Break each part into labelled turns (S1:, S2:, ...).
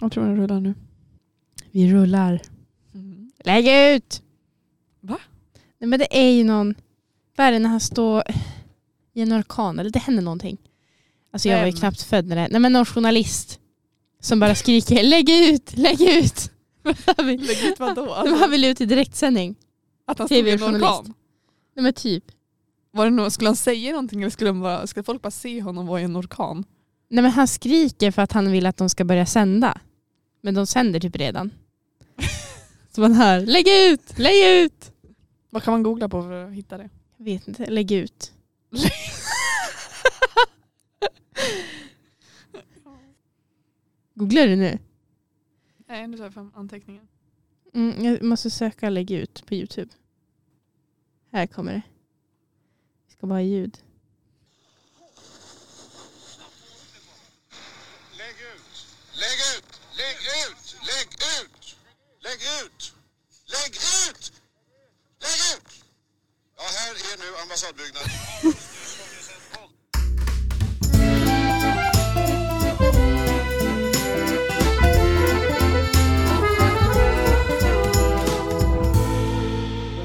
S1: Jag tror den rullar nu.
S2: Vi rullar.
S1: Mm.
S2: Lägg ut!
S1: Va?
S2: Nej men det är ju någon, vad är det när han står i en orkan eller det händer någonting. Alltså jag var ju
S1: Vem?
S2: knappt född när det Nej men någon journalist som bara skriker lägg ut, lägg ut. Han vill-
S1: Lägg ut vadå? Alltså,
S2: Han vill ut i direktsändning.
S1: att han stod i en
S2: TV-journalist.
S1: orkan?
S2: Nej men typ.
S1: Var det någon, skulle han säga någonting eller skulle, han bara, skulle folk bara se honom vara i en orkan?
S2: Nej men han skriker för att han vill att de ska börja sända. Men de sänder typ redan. Så man hör lägg ut, lägg ut.
S1: Vad kan man googla på för att hitta det?
S2: Jag vet inte, lägg ut. Googlar du nu?
S1: Nej, nu tar jag fram anteckningen.
S2: Mm, jag måste söka lägg ut på Youtube. Här kommer det. Vi ska bara ha ljud.
S3: Lägg ut! Lägg ut! Lägg ut! Lägg ut! Lägg ut! Lägg ut! Lägg ut! Ja, här är nu ambassadbyggnaden.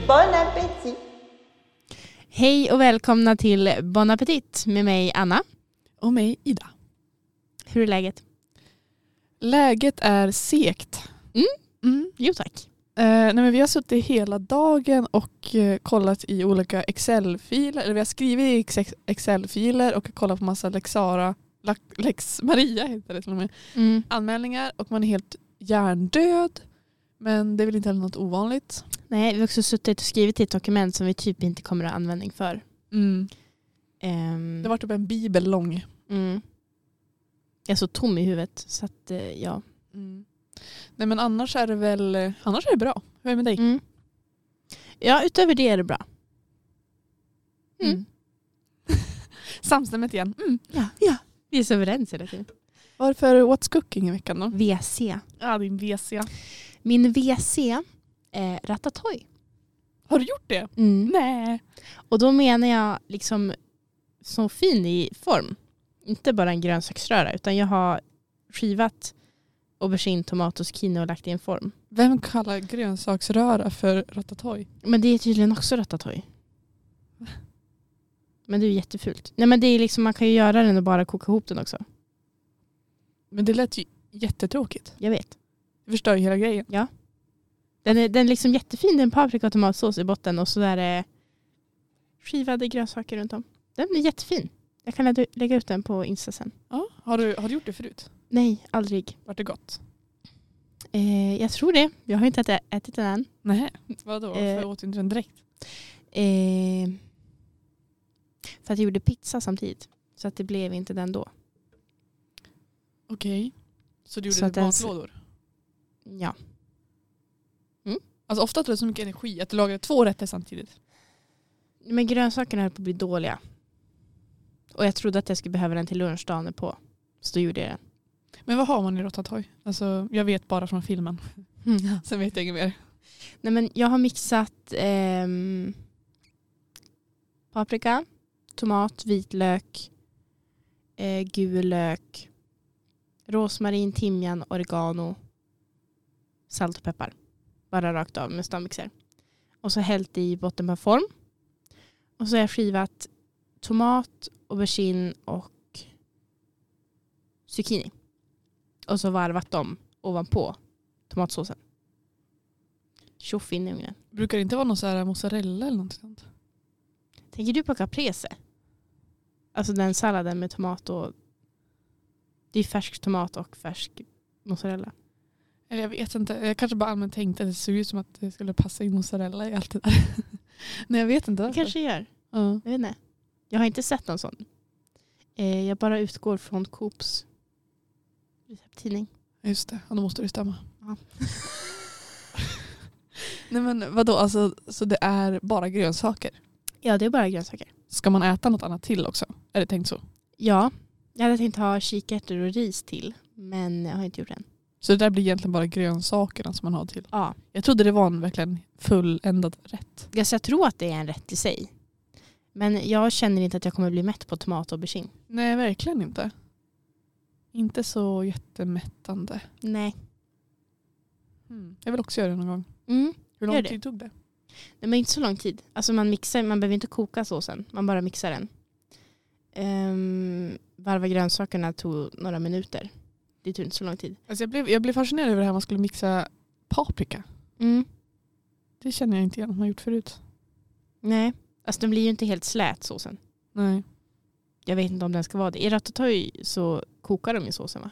S4: Bon appétit
S2: Hej och välkomna till Bon Appetit med mig Anna.
S1: Och mig, Ida.
S2: Hur är läget?
S1: Läget är segt.
S2: Mm.
S1: Mm.
S2: Jo tack.
S1: Eh, nej men vi har suttit hela dagen och eh, kollat i olika Excel-filer. Eller vi har skrivit i Ex- Excel-filer och kollat på massa Lexara, Lax- Lex Maria heter det till och med,
S2: Mm.
S1: anmälningar och man är helt hjärndöd. Men det är väl inte heller något ovanligt.
S2: Nej, vi har också suttit och skrivit i ett dokument som vi typ inte kommer att ha användning för.
S1: Mm.
S2: Ehm,
S1: Det var typ en bibel lång.
S2: mm. Jag är så tom i huvudet så att eh, ja.
S1: Mm. Nej men annars är det väl annars är det bra. Hur är det med dig?
S2: Mm. Ja, utöver det är det bra. Mm.
S1: Samstämmigt igen. Mm.
S2: Ja, ja. Vi är så överens hela tiden.
S1: Vad är det för What's Cooking i veckan då?
S2: WC.
S1: Ja, din WC.
S2: Min eh, WC är Ratatouille.
S1: Har du gjort det? Nej.
S2: Och då menar jag liksom så fin i form. Inte bara en grönsaksröra utan jag har skivat aubergine, tomat och zucchini och lagt i en form.
S1: Vem kallar grönsaksröra för ratatouille?
S2: Men det är tydligen också ratatouille. Men det är ju jättefult. Nej men det är liksom, man kan ju göra den och bara koka ihop den också.
S1: Men det lät ju jättetråkigt.
S2: Jag vet.
S1: Det förstör ju hela grejen.
S2: Den är, den är liksom jättefin, det är en paprika och tomatsås i botten och så där är skivade grönsaker runt om. Den är jättefin. Jag kan lägga- lägga ut den på Insta sen.
S1: Ja. Har, du, har du gjort det förut?
S2: Nej, aldrig.
S1: Vart det gott?
S2: Eh, jag tror det. Jag har inte ätit, ätit den än.
S1: Nej. Vadå? Varför
S2: Eh.
S1: åt du inte den direkt?
S2: Eh, för att jag gjorde pizza samtidigt. Så att det blev inte den då.
S1: Okej. Så du
S2: Så
S1: gjorde det
S2: att
S1: till
S2: ens-
S1: matlådor?
S2: Ja.
S1: Alltså ofta tar det så mycket energi att du lagar två rätter samtidigt.
S2: Men grönsakerna höll på att bli dåliga. Och jag trodde att jag skulle behöva den till lunch dagen på. Så då gjorde jag den.
S1: Men vad har man i ratatouille? Alltså jag vet bara från filmen.
S2: Mm.
S1: Sen vet jag inget mer.
S2: Nej men jag har mixat ehm, paprika, tomat, vitlök, eh, gul lök, rosmarin, timjan, oregano, salt och peppar. Bara rakt av med stavmixer. Och så hällt i botten på en form. Och så har jag skivat tomat, aubergine och zucchini. Och så varvat dem ovanpå tomatsåsen. Tjoff in i ugnen.
S1: Brukar det inte vara någon så här mozzarella eller något sånt?
S2: Tänker du på caprese? Alltså den salladen med tomat och... Det är färsk tomat och färsk mozzarella.
S1: Eller jag vet inte. Jag kanske bara allmänt tänkte att det såg ut som att det skulle passa in mozzarella i allt det där. Nej jag vet inte
S2: Det
S1: varför.
S2: kanske gör.
S1: Ja.
S2: Jag vet inte. Jag har inte sett någon sån. Eh, jag bara utgår från Coops recepttidning.
S1: Just det, ja, då måste det stämma.
S2: Ja.
S1: Nej men vadå, alltså, så det är bara grönsaker?
S2: Ja, det är bara grönsaker.
S1: Ska man äta något annat till också? Är det tänkt så?
S2: Ja, jag hade tänkt ha kikärtor och ris till. Men jag har inte gjort det än.
S1: Så det där blir egentligen bara grönsakerna som man har till?
S2: Ja.
S1: Jag trodde det var en verkligen fulländad rätt.
S2: Alltså jag tror att det är en rätt i sig. Men jag känner inte att jag kommer bli mätt på tomat och aubergine.
S1: Nej verkligen inte. Inte så jättemättande.
S2: Nej.
S1: Hmm. Jag vill också göra det någon gång.
S2: Mm.
S1: Hur
S2: Gör
S1: lång
S2: det.
S1: tid tog det?
S2: Nej, men inte så lång tid. Alltså man mixar, man behöver inte koka såsen, man bara mixar den. Ehm, varva grönsakerna tog några minuter. Det tog inte så lång tid.
S1: Alltså jag, blev, jag blev fascinerad över det här man skulle mixa paprika.
S2: Mm.
S1: Det känner jag inte igen att man gjort förut.
S2: Nej, alltså den blir ju inte helt slät såsen.
S1: Nej.
S2: Jag vet inte om den ska vara det. I ratatouille så kokar de ju såsen va?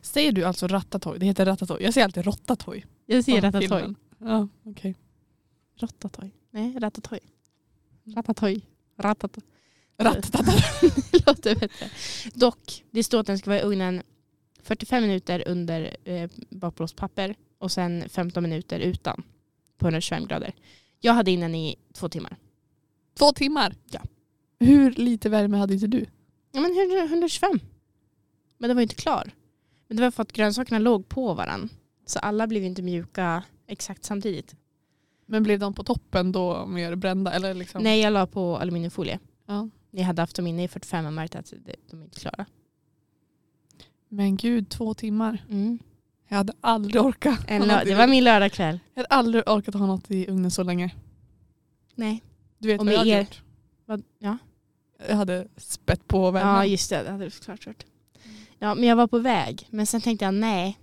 S1: Säger du alltså ratatouille? Det heter ratatouille. Jag säger alltid rotatouille.
S2: Jag säger
S1: Från
S2: ratatouille.
S1: filmen. Ja, okej.
S2: Ratatouille. Nej, ratatouille.
S1: Mm.
S2: Ratatouille. Ratatouille.
S1: Ratatouille.
S2: låter bättre. Dock, det står att den ska vara i ugnen 45 minuter under eh, bakplåtspapper och sen 15 minuter utan på 125 grader. Jag hade in den i två timmar.
S1: Två timmar.
S2: Ja.
S1: Hur lite värme hade inte du?
S2: Ja men 100 125. Men den var ju inte klar. Men det var för att grönsakerna låg på varann. Så alla blev ju inte mjuka exakt samtidigt.
S1: Men blev de på toppen då mer brända? Eller liksom?
S2: Nej, jag la på aluminiumfolie.
S1: Ja.
S2: Ni hade haft dem inne i 45 och märkt att det- de är inte klara.
S1: Men gud, två timmar.
S2: Mm.
S1: Jag hade aldrig orkat.
S2: En
S1: ha
S2: lö-
S1: något i-
S2: det var min lördagkväll.
S1: Jag hade aldrig orkat ha något i ugnen så länge.
S2: Nej.
S1: Du vet
S2: Och
S1: vad jag
S2: med
S1: hade
S2: er-
S1: gjort?
S2: Vad, ja.
S1: Jag hade spett på värmen.
S2: Ja just det, Mm. det hade du såklart gjort. Ja men jag var på väg, men sen tänkte jag nej.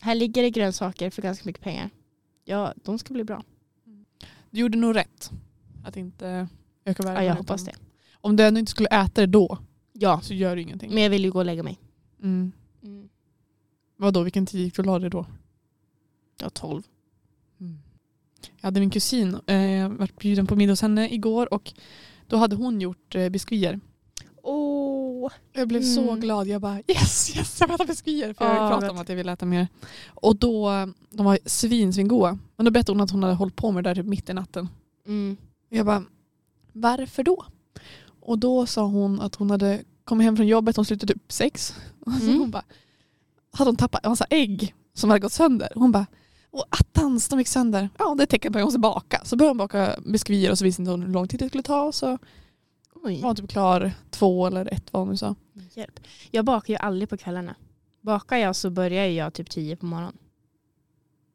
S2: Här ligger det grönsaker för ganska mycket pengar. Ja, de ska bli bra.
S1: Du gjorde nog rätt. Att inte öka värmen.
S2: Ja, jag
S1: utan-
S2: hoppas det.
S1: Om du ändå inte skulle äta det då
S2: Ja,
S1: så gör du ingenting.
S2: men jag vill ju gå och lägga mig.
S1: Mm. Vadå, vilken tid gick du och la dig då?
S2: Ja, tolv.
S1: Jag hade min kusin, eh, varit bjuden på middag hos henne igår och då hade hon gjort eh, biskvier.
S2: Åh!
S1: Jag blev så
S2: Mm.
S1: glad, jag bara yes, yes, jag vill äta biskvier. För jag
S2: Ja,
S1: har ju pratat
S2: vet.
S1: om att jag vill äta mer. Och då, eh, de var svin, svin goa. Men då berättade hon att hon hade hållit på med det där typ mitt i natten.
S2: Mm.
S1: Och jag bara, varför då? Och då sa hon att hon hade kommit hem från jobbet, hon slutade upp sex. Och så
S2: Mm.
S1: hon bara, hade hon tappat en massa ägg som hade gått sönder? Hon bara, och attans, de gick sönder. Ja, det är ett tecken på att jag måste baka. Så började hon baka biskvier och så visste inte hon hur lång tid det skulle ta. Så
S2: Oj.
S1: var hon typ klar två eller ett vad hon nu sa.
S2: Hjälp. Jag bakar ju aldrig på kvällarna. Bakar jag så börjar jag typ tio på morgonen.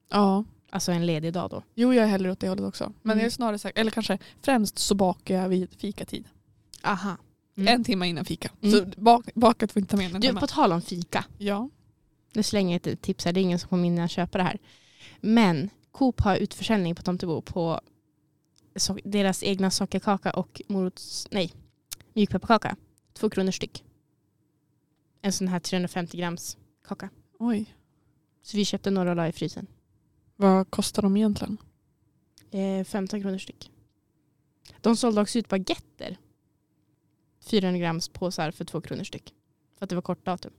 S1: Ja.
S2: Alltså en ledig dag då.
S1: Jo, jag är hellre åt det hållet också. Men
S2: Mm.
S1: jag är snarare sagt, eller kanske främst så bakar jag vid fikatid.
S2: Aha.
S1: En timme innan fika.
S2: Mm.
S1: Så bak, bakat får inte ta med en
S2: Du,
S1: timme.
S2: på tal om fika.
S1: Ja.
S2: Nu slänger jag ett tips här, det är ingen som kommer hinna köpa det här. Men Coop har utförsäljning på Tomtebo på so- deras egna sockerkaka och morots, nej, mjukpepparkaka. Två kronor styck. En sån här 350 grams kaka.
S1: Oj.
S2: Så vi köpte några och la i frysen.
S1: Vad kostar de egentligen?
S2: Eh, 15 kronor styck. De sålde också ut baguetter. 400 grams påsar för två kronor styck. För att det var kort datum.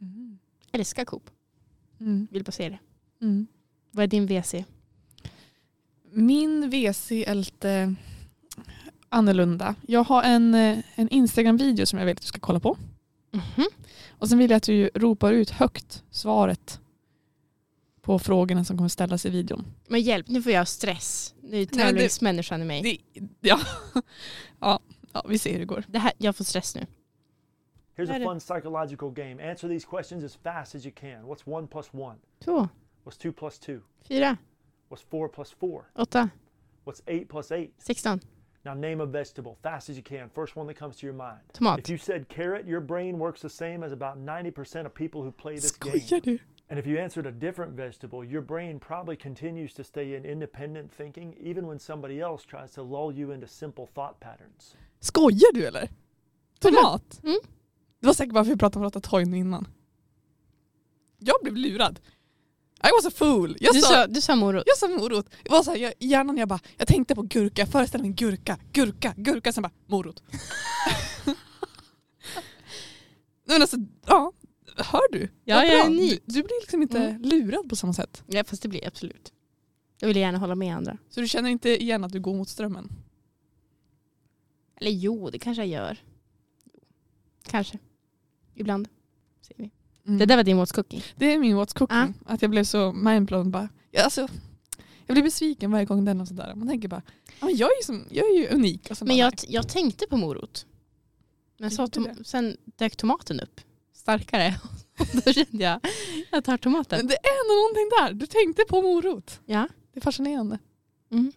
S1: Mm.
S2: Älskar Coop. Vill bara säga det.
S1: Mm.
S2: Vad är din WC?
S1: Min WC är lite annorlunda. Jag har en, eh, en Instagram-video som jag vill att du ska kolla på.
S2: Mhm.
S1: Och sen vill jag att du ropar ut högt svaret på frågorna som kommer ställas i videon.
S2: Men hjälp, nu får jag stress. Nu är
S1: Nej, men du-
S2: tävlingsmänniskan i mig. Det,
S1: Det, ja. Ja, ja, vi ser hur det går.
S2: här, jag får stress nu.
S4: Here's
S2: Right.
S4: a fun psychological game. Answer these questions as fast as you can. What's 1 plus 1?
S2: Två,
S4: What's 2 plus 2?
S2: fyra,
S4: What's 4 plus 4?
S2: åtta,
S4: What's 8 plus 8?
S2: sexton.
S4: Now name a vegetable, fast as you can. First one that comes to your mind.
S2: Tomat.
S4: If you said carrot, your brain works the same as about 90% of people who play this game.
S1: Skojar du?
S4: And if you answered a different vegetable, your brain probably continues to stay in independent thinking even when somebody else tries to lull you into simple thought patterns.
S1: Skojar du eller? Tomat?
S2: Mm.
S1: Det var säkert bara för att vi pratade om ratatouille innan. Jag blev lurad. I was a fool. Jag
S2: Du
S1: sa-
S2: sa, du sa morot.
S1: Jag sa morot. Det var så här, jag, i hjärnan jag bara, jag tänkte på gurka, jag föreställde mig gurka, gurka, gurka, sen bara morot. Nej, men alltså, ja, hör du?
S2: Ja,
S1: Vad
S2: jag är
S1: bra.
S2: unik.
S1: Du, du blir liksom inte
S2: Mm.
S1: lurad på samma sätt.
S2: Ja, fast det blir absolut. Jag vill gärna hålla med andra.
S1: Så du känner inte igen att du går mot strömmen?
S2: Eller jo, det kanske jag gör. Kanske. Ibland. Säger vi.
S1: Mm.
S2: Det där var din what's cooking.
S1: Det är min what's cooking. Att jag blev så mindblown bara. Jag, alltså, jag blir besviken varje gång den och sådär. Man tänker bara, ja, men jag, är ju som, jag är ju unik. Och sen
S2: Men
S1: bara,
S2: jag, jag tänkte på morot. Men så
S1: Gjorde
S2: tom, sen dök tomaten upp. starkare. Och då kände jag, jag tar tomaten.
S1: Men det är ändå någonting där. Du tänkte på morot.
S2: Ja.
S1: Det är fascinerande.
S2: Mm.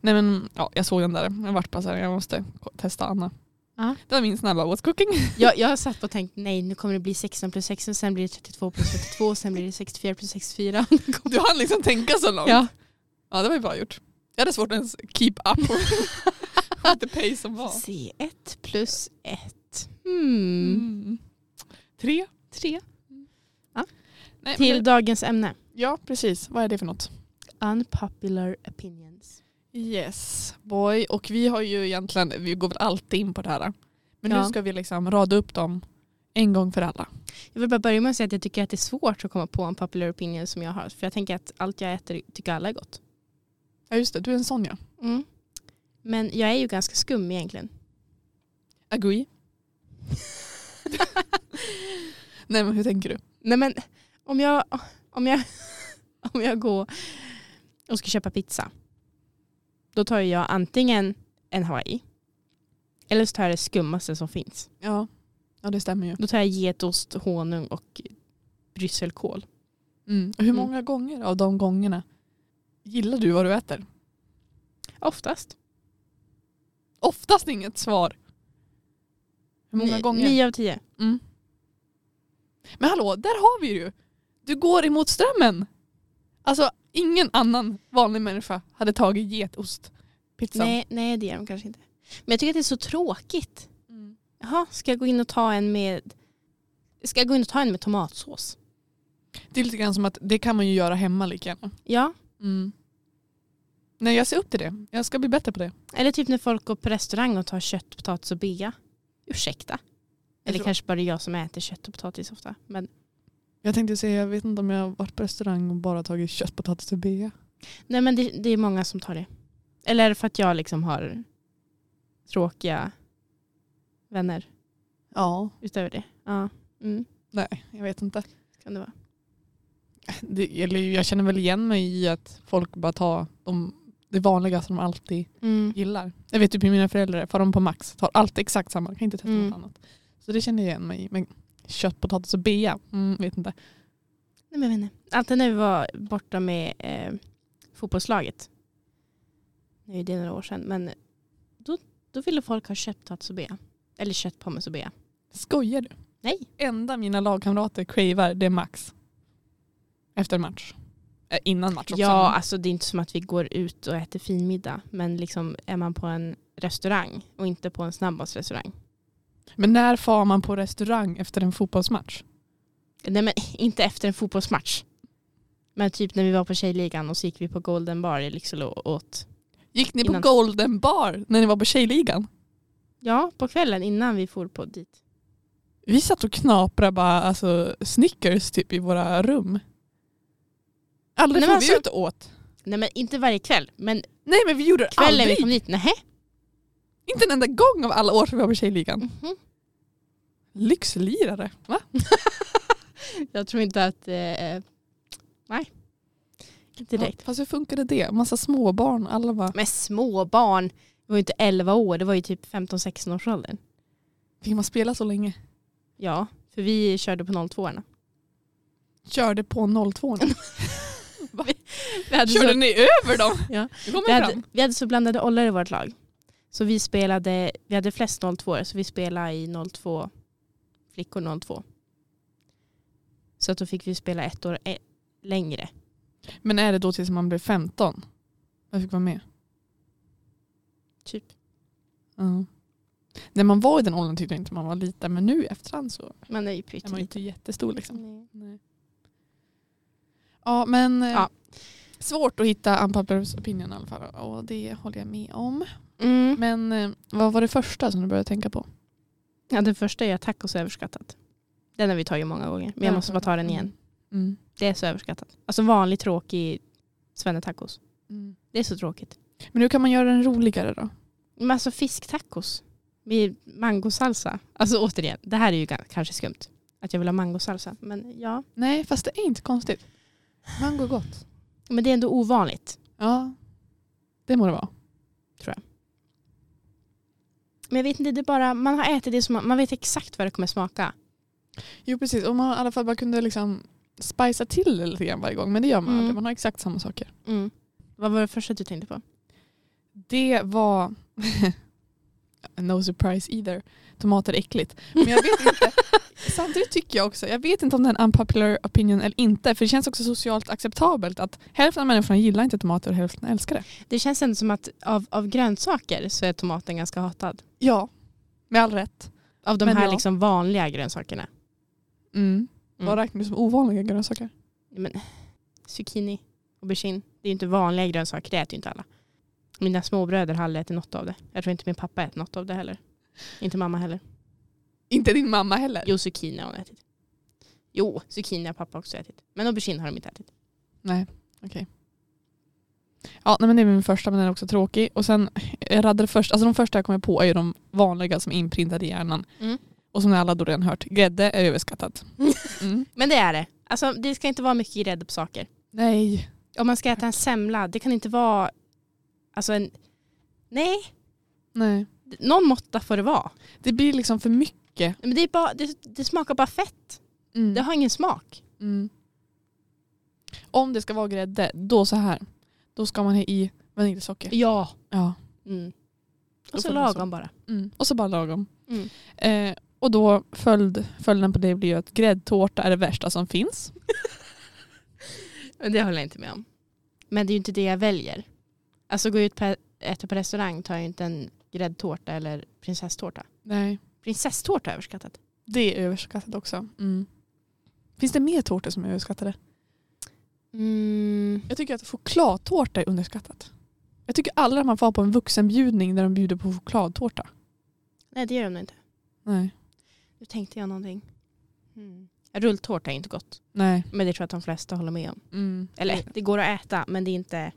S1: Nej men ja, jag såg den där. Jag vart bara så här, jag måste ko- testa Anna.
S2: Ja.
S1: Det var min snabba what's cooking.
S2: Jag, jag satt och tänkte nej nu kommer det bli 16 plus 16, sen blir det 32 plus 32, sen blir det 64 plus 64.
S1: Du hann liksom tänka så långt.
S2: Ja.
S1: Ja, det var ju bra gjort. Jag hade svårt att ens keep up with the pace som var.
S2: C1 plus 1. Mm.
S1: Mm. Tre.
S2: Tre.
S1: Nej, men
S2: Till
S1: det,
S2: dagens ämne.
S1: ja, precis. Vad är det för något?
S2: Unpopular opinions.
S1: Yes, boy. Och vi har ju egentligen, vi går väl alltid in på det här. Men
S2: Ja.
S1: nu ska vi liksom rada upp dem en gång för alla.
S2: Jag vill bara börja med att säga att jag tycker att det är svårt att komma på en popular opinion som jag har. För jag tänker att allt jag äter tycker alla är gott.
S1: Ja just det, du är en sån ja.
S2: Mm. Men jag är ju ganska skum egentligen.
S1: Agree. Nej men hur tänker du?
S2: Nej men om jag, om jag, om jag går och ska köpa pizza. Då tar ju jag antingen en Hawaii. Eller så tar jag det skummaste som finns.
S1: Ja, ja det stämmer ju.
S2: Då tar jag getost, honung och brysselkål.
S1: Mm. Och Hur
S2: Mm.
S1: många gånger av de gångerna gillar du vad du äter?
S2: Oftast.
S1: Oftast inget svar. Hur många
S2: Ni-
S1: gånger?
S2: Nio av tio.
S1: Mm. Men hallå, där har vi ju. Du går emot strömmen. Alltså ingen annan vanlig människa hade tagit getost. Pizzan.
S2: Nej, nej, det gör de kanske inte. Men jag tycker att det är så tråkigt.
S1: Mm.
S2: Jaha, ska jag gå in och ta en med Ska jag gå in och ta en med tomatsås?
S1: Det är lite grann som att det kan man ju göra hemma lika gärna.
S2: Ja,
S1: Mm. Nej jag ser upp till det. Jag ska bli bättre på det.
S2: eller typ när folk går på restaurang och tar kött, potatis och bea. Ursäkta. Eller
S1: tror-
S2: kanske bara jag som äter kött och potatis ofta. Men
S1: Jag tänkte säga, jag vet inte om jag har varit på restaurang och bara tagit köttpotatis och bea.
S2: nej men det, det är många som tar det. Eller är det för att jag liksom har tråkiga vänner
S1: Ja.
S2: utöver det? Ja, mm,
S1: Nej, jag vet inte.
S2: kan det vara.
S1: Det, eller jag känner väl igen mig i att folk bara tar de, det vanliga som de alltid
S2: Mm.
S1: gillar. Jag vet typ hur mina föräldrar är, far de på Max tar alltid exakt samma, kan inte testa
S2: Mm.
S1: något annat. Så det känner jag igen mig i. Men kött, potatis och bea, mm, vet inte.
S2: Nej, men jag vet inte. Alltid när vi var borta med eh, fotbollslaget. Nu är det några år sedan. Men då, då ville folk ha köttpotatis och bea. Eller köttpommes och bea.
S1: Skojar du?
S2: Nej.
S1: Enda mina lagkamrater cravar det är Max. Efter match. Äh, innan match också.
S2: Ja, alltså det är inte som att vi går ut och äter finmiddag. Men liksom är man på en restaurang och inte på en snabbmatsrestaurang.
S1: Men när far man på restaurang efter en fotbollsmatch?
S2: Nej men inte efter en fotbollsmatch. Men typ när vi var på tjejligan och så gick vi på Golden Bar i Lycksele och åt.
S1: Gick ni
S2: Innan.
S1: på Golden Bar när ni var på tjejligan?
S2: Ja, på kvällen innan vi for på dit.
S1: Vi satt och knaprade bara alltså, Snickers typ i våra rum. Aldrig
S2: Nej,
S1: får
S2: men
S1: vi
S2: alltså-
S1: ut och åt.
S2: Nej men inte varje kväll. Men
S1: Nej men vi gjorde det
S2: kvällen
S1: aldrig.
S2: vi kom dit, nej.
S1: Inte en enda gång av alla år som vi var på Tjejligan.
S2: Mhm.
S1: Lyxlirare. Va?
S2: Jag tror inte att... Eh, nej. Inte direkt.
S1: Ja, Fast hur funkade det? Massa småbarn. Alla bara,
S2: Men små barn. Det var ju inte 11 år, det var ju typ 15-16 års åldern.
S1: fick man spela så länge?
S2: Ja, för vi körde på 02 erna
S1: Körde på 02
S2: vi, hade
S1: Körde
S2: så,
S1: ni över dem?
S2: Ja.
S1: Det kommer
S2: vi, hade,
S1: fram.
S2: vi hade så blandade åldrar i vårt lag. Så vi spelade, vi hade flest 02 så vi spelade i 02, flickor 02. Så att då fick vi spela ett år eh, längre.
S1: Men är det då tills man blev 15? Jag fick vara med.
S2: Typ.
S1: Ja. När man var i den åldern tyckte jag inte man var liten. Men nu i efterhand så
S2: Man är ju
S1: är man ju inte
S2: pytteliten.
S1: jättestor. Liksom.
S2: Nej.
S1: Nej. Ja men eh,
S2: Ja.
S1: svårt att hitta unpopular opinion i alla fall. Och det håller jag med om.
S2: Mm.
S1: Men eh, vad var det första som du började tänka på?
S2: Ja, den första är tacos är överskattat. Den har vi tagit många gånger, men jag
S1: Ja.
S2: måste bara ta den igen.
S1: Mm.
S2: Det är så överskattat. Alltså vanlig tråkig svennetacos. Det är så tråkigt.
S1: Mm. Men hur kan man göra den roligare då?
S2: Men alltså fisktacos med mangosalsa. Alltså återigen, det här är ju ga- kanske skumt. Att jag vill ha mangosalsa. Men ja,
S1: Nej, fast det är inte konstigt. Mango gott.
S2: men det är ändå ovanligt.
S1: Ja, det må det vara.
S2: Men jag vet inte, det är bara, man har ätit det som man vet exakt vad det kommer smaka.
S1: Jo precis, om man i alla fall bara kunde liksom spicea till det lite grann varje gång. Men det gör man
S2: Mm.
S1: aldrig, man har exakt samma saker.
S2: Mm. Vad var det första du tänkte på?
S1: Det var, no surprise either, tomater är äckligt. Men jag vet inte, samtidigt tycker jag också, jag vet inte om det är en unpopular opinion eller inte, för det känns också socialt acceptabelt att hälften av människorna gillar inte tomater och hälften älskar det.
S2: Det känns ändå som att av, av grönsaker så är tomaten ganska hatad.
S1: Ja, med all rätt.
S2: Av de
S1: Men
S2: här
S1: ja.
S2: liksom vanliga grönsakerna.
S1: Mm.
S2: Mm.
S1: Vad räknar du som ovanliga grönsaker?
S2: Men, zucchini, aubergine. Det är ju inte vanliga grönsaker, det äter ju inte alla. Mina småbröder har aldrig ätit något av det. Jag tror inte min pappa äter något av det heller. Inte mamma heller.
S1: Inte din mamma heller.
S2: Jo, zucchini har hon ätit. Jo, zucchini har pappa också ätit. Men aubergine har de inte ätit.
S1: Nej, okej. Ja, nej, men det är min första men den är också tråkig. Och sen, jag raddade först, alltså de första jag kommer på är ju de vanliga som är inprintade i hjärnan.
S2: Mm.
S1: Och som ni alla då redan hört, grädde är överskattat. Mm.
S2: Men det är det. Alltså, det ska inte vara mycket grädde på saker.
S1: Nej.
S2: Om man ska äta en semla, det kan inte vara... Alltså en... Nej,
S1: Nej.
S2: någon måtta får det vara.
S1: Det blir liksom för mycket.
S2: Men det, är bara, det, det smakar bara fett.
S1: Mm.
S2: Det har ingen smak.
S1: Mm. Om det ska vara grädde, då så här. Då ska man ha i vaniljsocker.
S2: Ja.
S1: Ja.
S2: Mm.
S1: Då
S2: Och så
S1: får det vara så.
S2: lagom bara.
S1: Mm. Och så bara lagom.
S2: Mm.
S1: Eh, och då följd, följden på det blir ju att gräddtårta är det värsta som finns.
S2: Men det håller jag inte med om. Men det är ju inte det jag väljer. Alltså gå ut på äta på restaurang tar jag ju inte en gräddtårta eller prinsesstårta.
S1: Nej.
S2: Prinsesstårta är överskattat.
S1: Det är överskattat också. Mm. Finns det mer tårtor som är överskattade?
S2: Mm.
S1: Jag tycker att chokladtårta är underskattat. Jag tycker aldrig att man får ha på en vuxenbjudning där de bjuder på chokladtårta.
S2: Nej det gör de nog inte.
S1: Nej.
S2: Nu tänkte jag någonting. Mm. Rulltårta är inte gott.
S1: Nej.
S2: Men det tror jag att de flesta håller med om.
S1: Mm.
S2: Eller det går att äta men det är inte,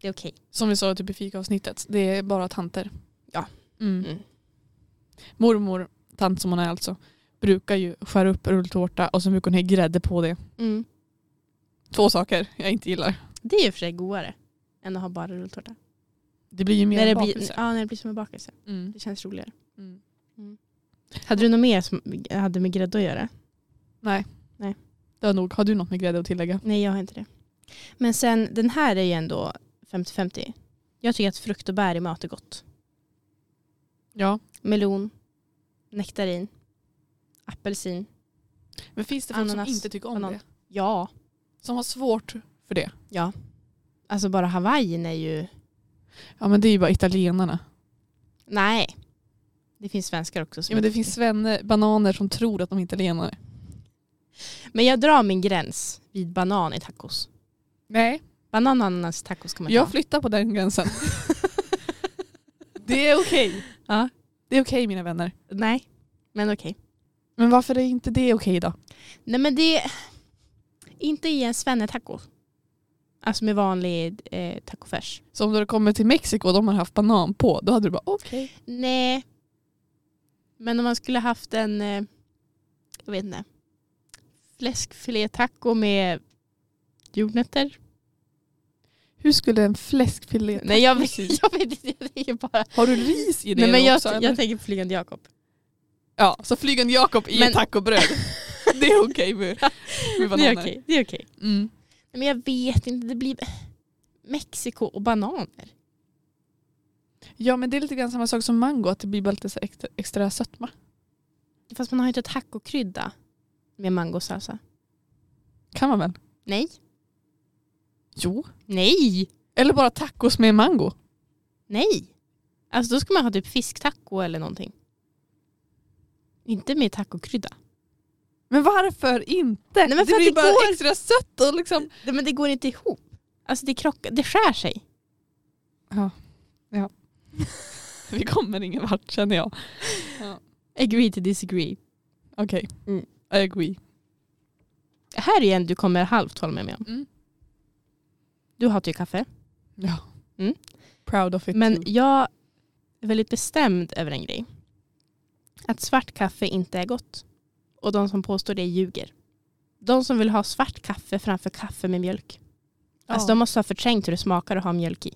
S2: det är okej.
S1: Som vi sa typ i fikaavsnittet, det är bara tanter.
S2: Ja.
S1: Mm.
S2: Mm.
S1: Mormor, tant som hon är alltså, brukar ju skära upp rulltårta och så brukar hon ha grädde på det.
S2: Mm.
S1: Två saker jag inte gillar.
S2: Det är ju för sig godare än att ha bara rulltårta.
S1: Det blir ju mer
S2: När det,
S1: en
S2: blir,
S1: bakelse.
S2: ja, när det blir som en bakelse.
S1: Mm.
S2: Det känns roligare.
S1: Mm.
S2: Hade du något mer som hade med grädde att göra?
S1: Nej.
S2: Nej.
S1: Det var nog. Har du något med grädde att tillägga?
S2: Nej, jag har inte det. Men sen, den här är ju ändå 50-50. Jag tycker att frukt och bär i mat är gott.
S1: Ja.
S2: Melon, nektarin, apelsin.
S1: Men finns det folk
S2: Ananas,
S1: som inte tycker om
S2: banan.
S1: det?
S2: Ja.
S1: Som har svårt för det.
S2: Ja. Alltså bara hawaiian är ju...
S1: Ja men det är ju bara italienarna.
S2: Nej. Det finns svenskar också. Som
S1: Ja, men det
S2: inte
S1: finns svenne, bananer som tror att de är italienare.
S2: tycker. men jag drar min gräns vid banan i tacos.
S1: Nej.
S2: Oh Banan och ananas i tacos kan man
S1: Jag
S2: ta.
S1: flyttar på den gränsen. det är okej.
S2: Ja.
S1: Det är okej mina vänner.
S2: Nej, men okej.
S1: Men varför är inte det okej då?
S2: Nej men det... Inte i en svennetaco. Alltså med vanlig eh, tacofärs.
S1: Så om du hade kommit till Mexiko och de har haft banan på, då hade du bara okej.
S2: Nej. Men om man skulle haft en... Eh, jag vet inte. Fläskfilétaco med jordnötter.
S1: Hur skulle en fläskfilé...
S2: Nej jag vet, jag vet inte. Jag tänker bara...
S1: Har du ris i det
S2: Nej men jag,
S1: också? eller?
S2: jag tänker på Flygande Jakob.
S1: Ja, så flygande Jakob i
S2: Men-
S1: tacobröd. det är okej med, med
S2: Det
S1: bananer.
S2: är okej. Det är okej.
S1: Mm.
S2: Nej, Men jag vet inte. Det blir Mexiko och bananer.
S1: Ja men det är lite grann samma sak som mango, att det blir bara lite så extra, extra sötma.
S2: Fast man har ju inte tacokrydda med mangosalsa.
S1: Kan man väl?
S2: Nej.
S1: Jo.
S2: Nej.
S1: Eller bara tacos med mango.
S2: Nej. Alltså då ska man ha typ fisktaco eller någonting. Inte med tacokrydda.
S1: Men varför inte?
S2: Nej, men för
S1: det
S2: att
S1: blir
S2: det
S1: bara
S2: går-
S1: extra sött och liksom...
S2: Nej men det går inte ihop. Alltså det krockar, det skär sig.
S1: Vi kommer ingen vart känner jag.
S2: Agree to disagree.
S1: Okej,
S2: Mm.
S1: I agree.
S2: Det här igen du kommer halvt hålla med mig om.
S1: Mm.
S2: Du hatar ju kaffe.
S1: Ja.
S2: Mm.
S1: Proud of it
S2: Men
S1: too.
S2: jag är väldigt bestämd över en grej. Att svart kaffe inte är gott. Och de som påstår det ljuger. De som vill ha svart kaffe framför kaffe med mjölk. Alltså
S1: Ja.
S2: de måste ha förträngt hur det smakar att ha mjölk i.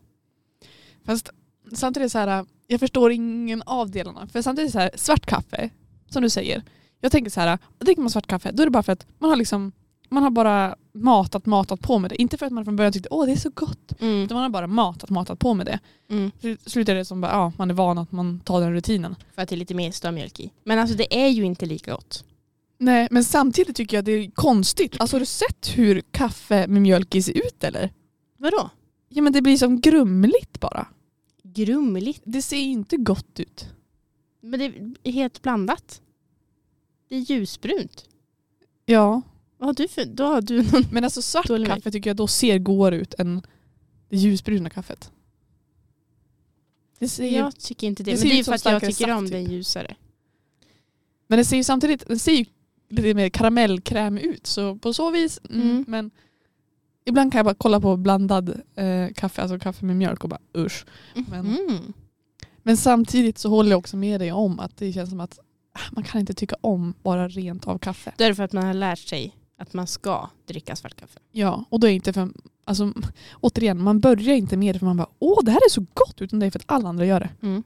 S1: Fast samtidigt så här, jag förstår ingen av delarna. För samtidigt så här, svart kaffe, som du säger, Jag tänker så här, dricker man svart kaffe då är det bara för att man har liksom man har bara matat, matat på med det. Inte för att man från början tyckte åh det är så gott.
S2: Mm.
S1: Utan man har bara matat, matat på med det.
S2: Mm.
S1: Sl- Slutar det som bara, ja, man är van att man tar den rutinen.
S2: För att det är lite mer strömjölk i. Men alltså det är ju inte lika gott.
S1: Nej, men samtidigt tycker jag det är konstigt. Alltså har du sett hur kaffe med mjölk i ser ut eller?
S2: Vadå?
S1: Ja men det blir som grumligt bara.
S2: Grumligt.
S1: Det ser ju inte gott ut.
S2: Men det är helt blandat. Det är ljusbrunt.
S1: Ja,
S2: Vad har du för... Då har du någon...
S1: men alltså svart
S2: Dålig mjölk.
S1: kaffe tycker jag då ser godare ut än det ljusbruna kaffet. Det ser ju,
S2: Jag tycker inte det.
S1: Det
S2: Men
S1: ser
S2: det
S1: ut
S2: är ju
S1: som
S2: för att jag
S1: starkare
S2: tycker
S1: saft,
S2: om
S1: typ.
S2: den ljusare.
S1: Men det ser ju samtidigt det ser ju lite mer karamellkräm ut så på så vis. Mm,
S2: Mm.
S1: Men ibland kan jag bara kolla på blandad eh, kaffe, alltså kaffe med mjölk och bara usch. Men-
S2: Mhm.
S1: Men samtidigt så håller jag också med dig om att det känns som att ah, man kan inte tycka om bara rent av kaffe.
S2: Då är det för att man har lärt sig att man ska dricka svart kaffe.
S1: Ja, och då är det inte för, alltså återigen, man börjar inte med det för man bara åh det här är så gott utan det är för att alla andra gör det.
S2: Mm.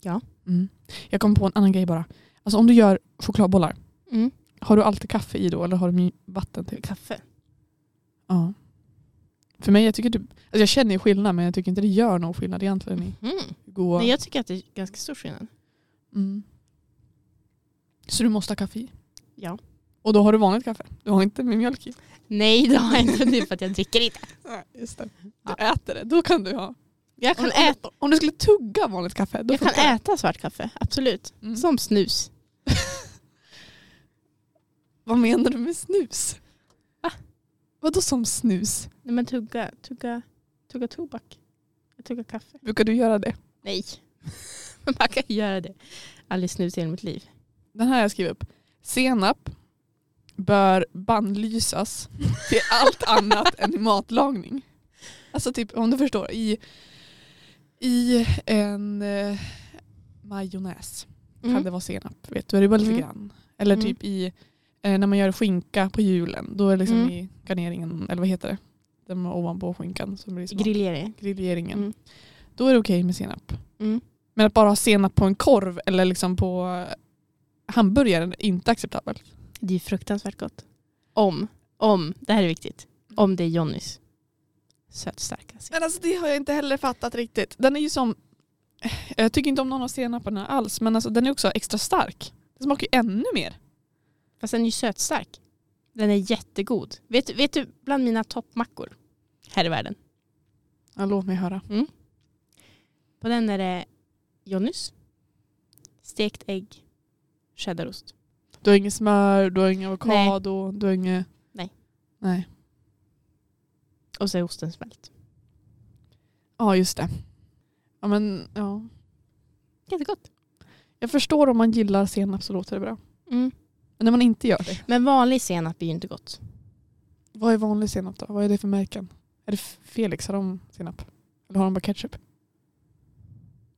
S2: Ja.
S1: Mm. Jag kom på en annan grej bara. Alltså om du gör chokladbollar,
S2: Mm.
S1: har du alltid kaffe i då eller har du mj- vatten till?
S2: Kaffe.
S1: Ja. För mig, jag tycker typ, alltså jag känner ju skillnad men jag tycker inte det gör någon skillnad egentligen i
S2: Mhm.
S1: hur goda.
S2: Nej, jag tycker att det är ganska stor skillnad.
S1: Mm. Så du måste ha kaffe i?
S2: Ja.
S1: Och då har du vanligt kaffe? Du har inte med mjölk i?
S2: Nej, det har jag inte. Det är för att jag dricker inte.
S1: Nej, just det. Du äter det, då kan du ha.
S2: Jag
S1: Om,
S2: kan,
S1: om,
S2: ä-
S1: du- om du skulle tugga vanligt kaffe, då
S2: jag kan
S1: funkar det.
S2: äta svart kaffe, absolut.
S1: Mm.
S2: Som snus.
S1: Vad menar du med snus?
S2: Va?
S1: Vadå som snus?
S2: Nej men tugga, tugga, tugga tobak. Jag tuggar kaffe.
S1: Brukar du göra det?
S2: Nej. Men man kan göra det. Aldrig snus i hela mitt liv.
S1: Den här har jag skrivit upp. Senap bör bannlysas till allt annat än i matlagning. Alltså typ, om du förstår, i, i en eh, majonnäs kan det vara senap. Vet du, är det bara lite
S2: Mm.
S1: grann. Eller
S2: Mm.
S1: typ i, eh, när man gör skinka på julen, då är det liksom
S2: Mm.
S1: i garneringen, eller vad heter det? Den ovanpå skinkan som
S2: liksom-
S1: blir smak.
S2: Grillering.
S1: grilleringen.
S2: Mm.
S1: Då är det okej med senap.
S2: Mm.
S1: Men att bara ha senap på en korv eller liksom på eh, hamburgaren är inte acceptabelt.
S2: Det är fruktansvärt gott. Mm. Om, om, det här är viktigt. Om det är Johnnys. Sött starka senap.
S1: Men alltså det har jag inte heller fattat riktigt. Den är ju som, jag tycker inte om någon av senaperna alls, men alltså den är också extra stark. Den smakar ju ännu mer.
S2: Fast den är ju sötstark. Den är jättegod. Vet, du- vet du, bland mina toppmackor här i världen.
S1: Ja, låt mig höra.
S2: På den är det Johnnys, stekt ägg, cheddarost.
S1: Du har inget smör, du har ingen avokado, du har inget...
S2: Nej.
S1: Nej.
S2: Och så är osten smält.
S1: Ja, just det. Ja, men ja.
S2: Jättegott.
S1: Jag förstår om man gillar senap så låter det bra.
S2: Mm.
S1: Men när man inte gör det.
S2: Men vanlig senap är ju inte gott.
S1: Vad är vanlig senap då? Vad är det för märken? Är det Felix? Har de senap? Eller har de bara ketchup?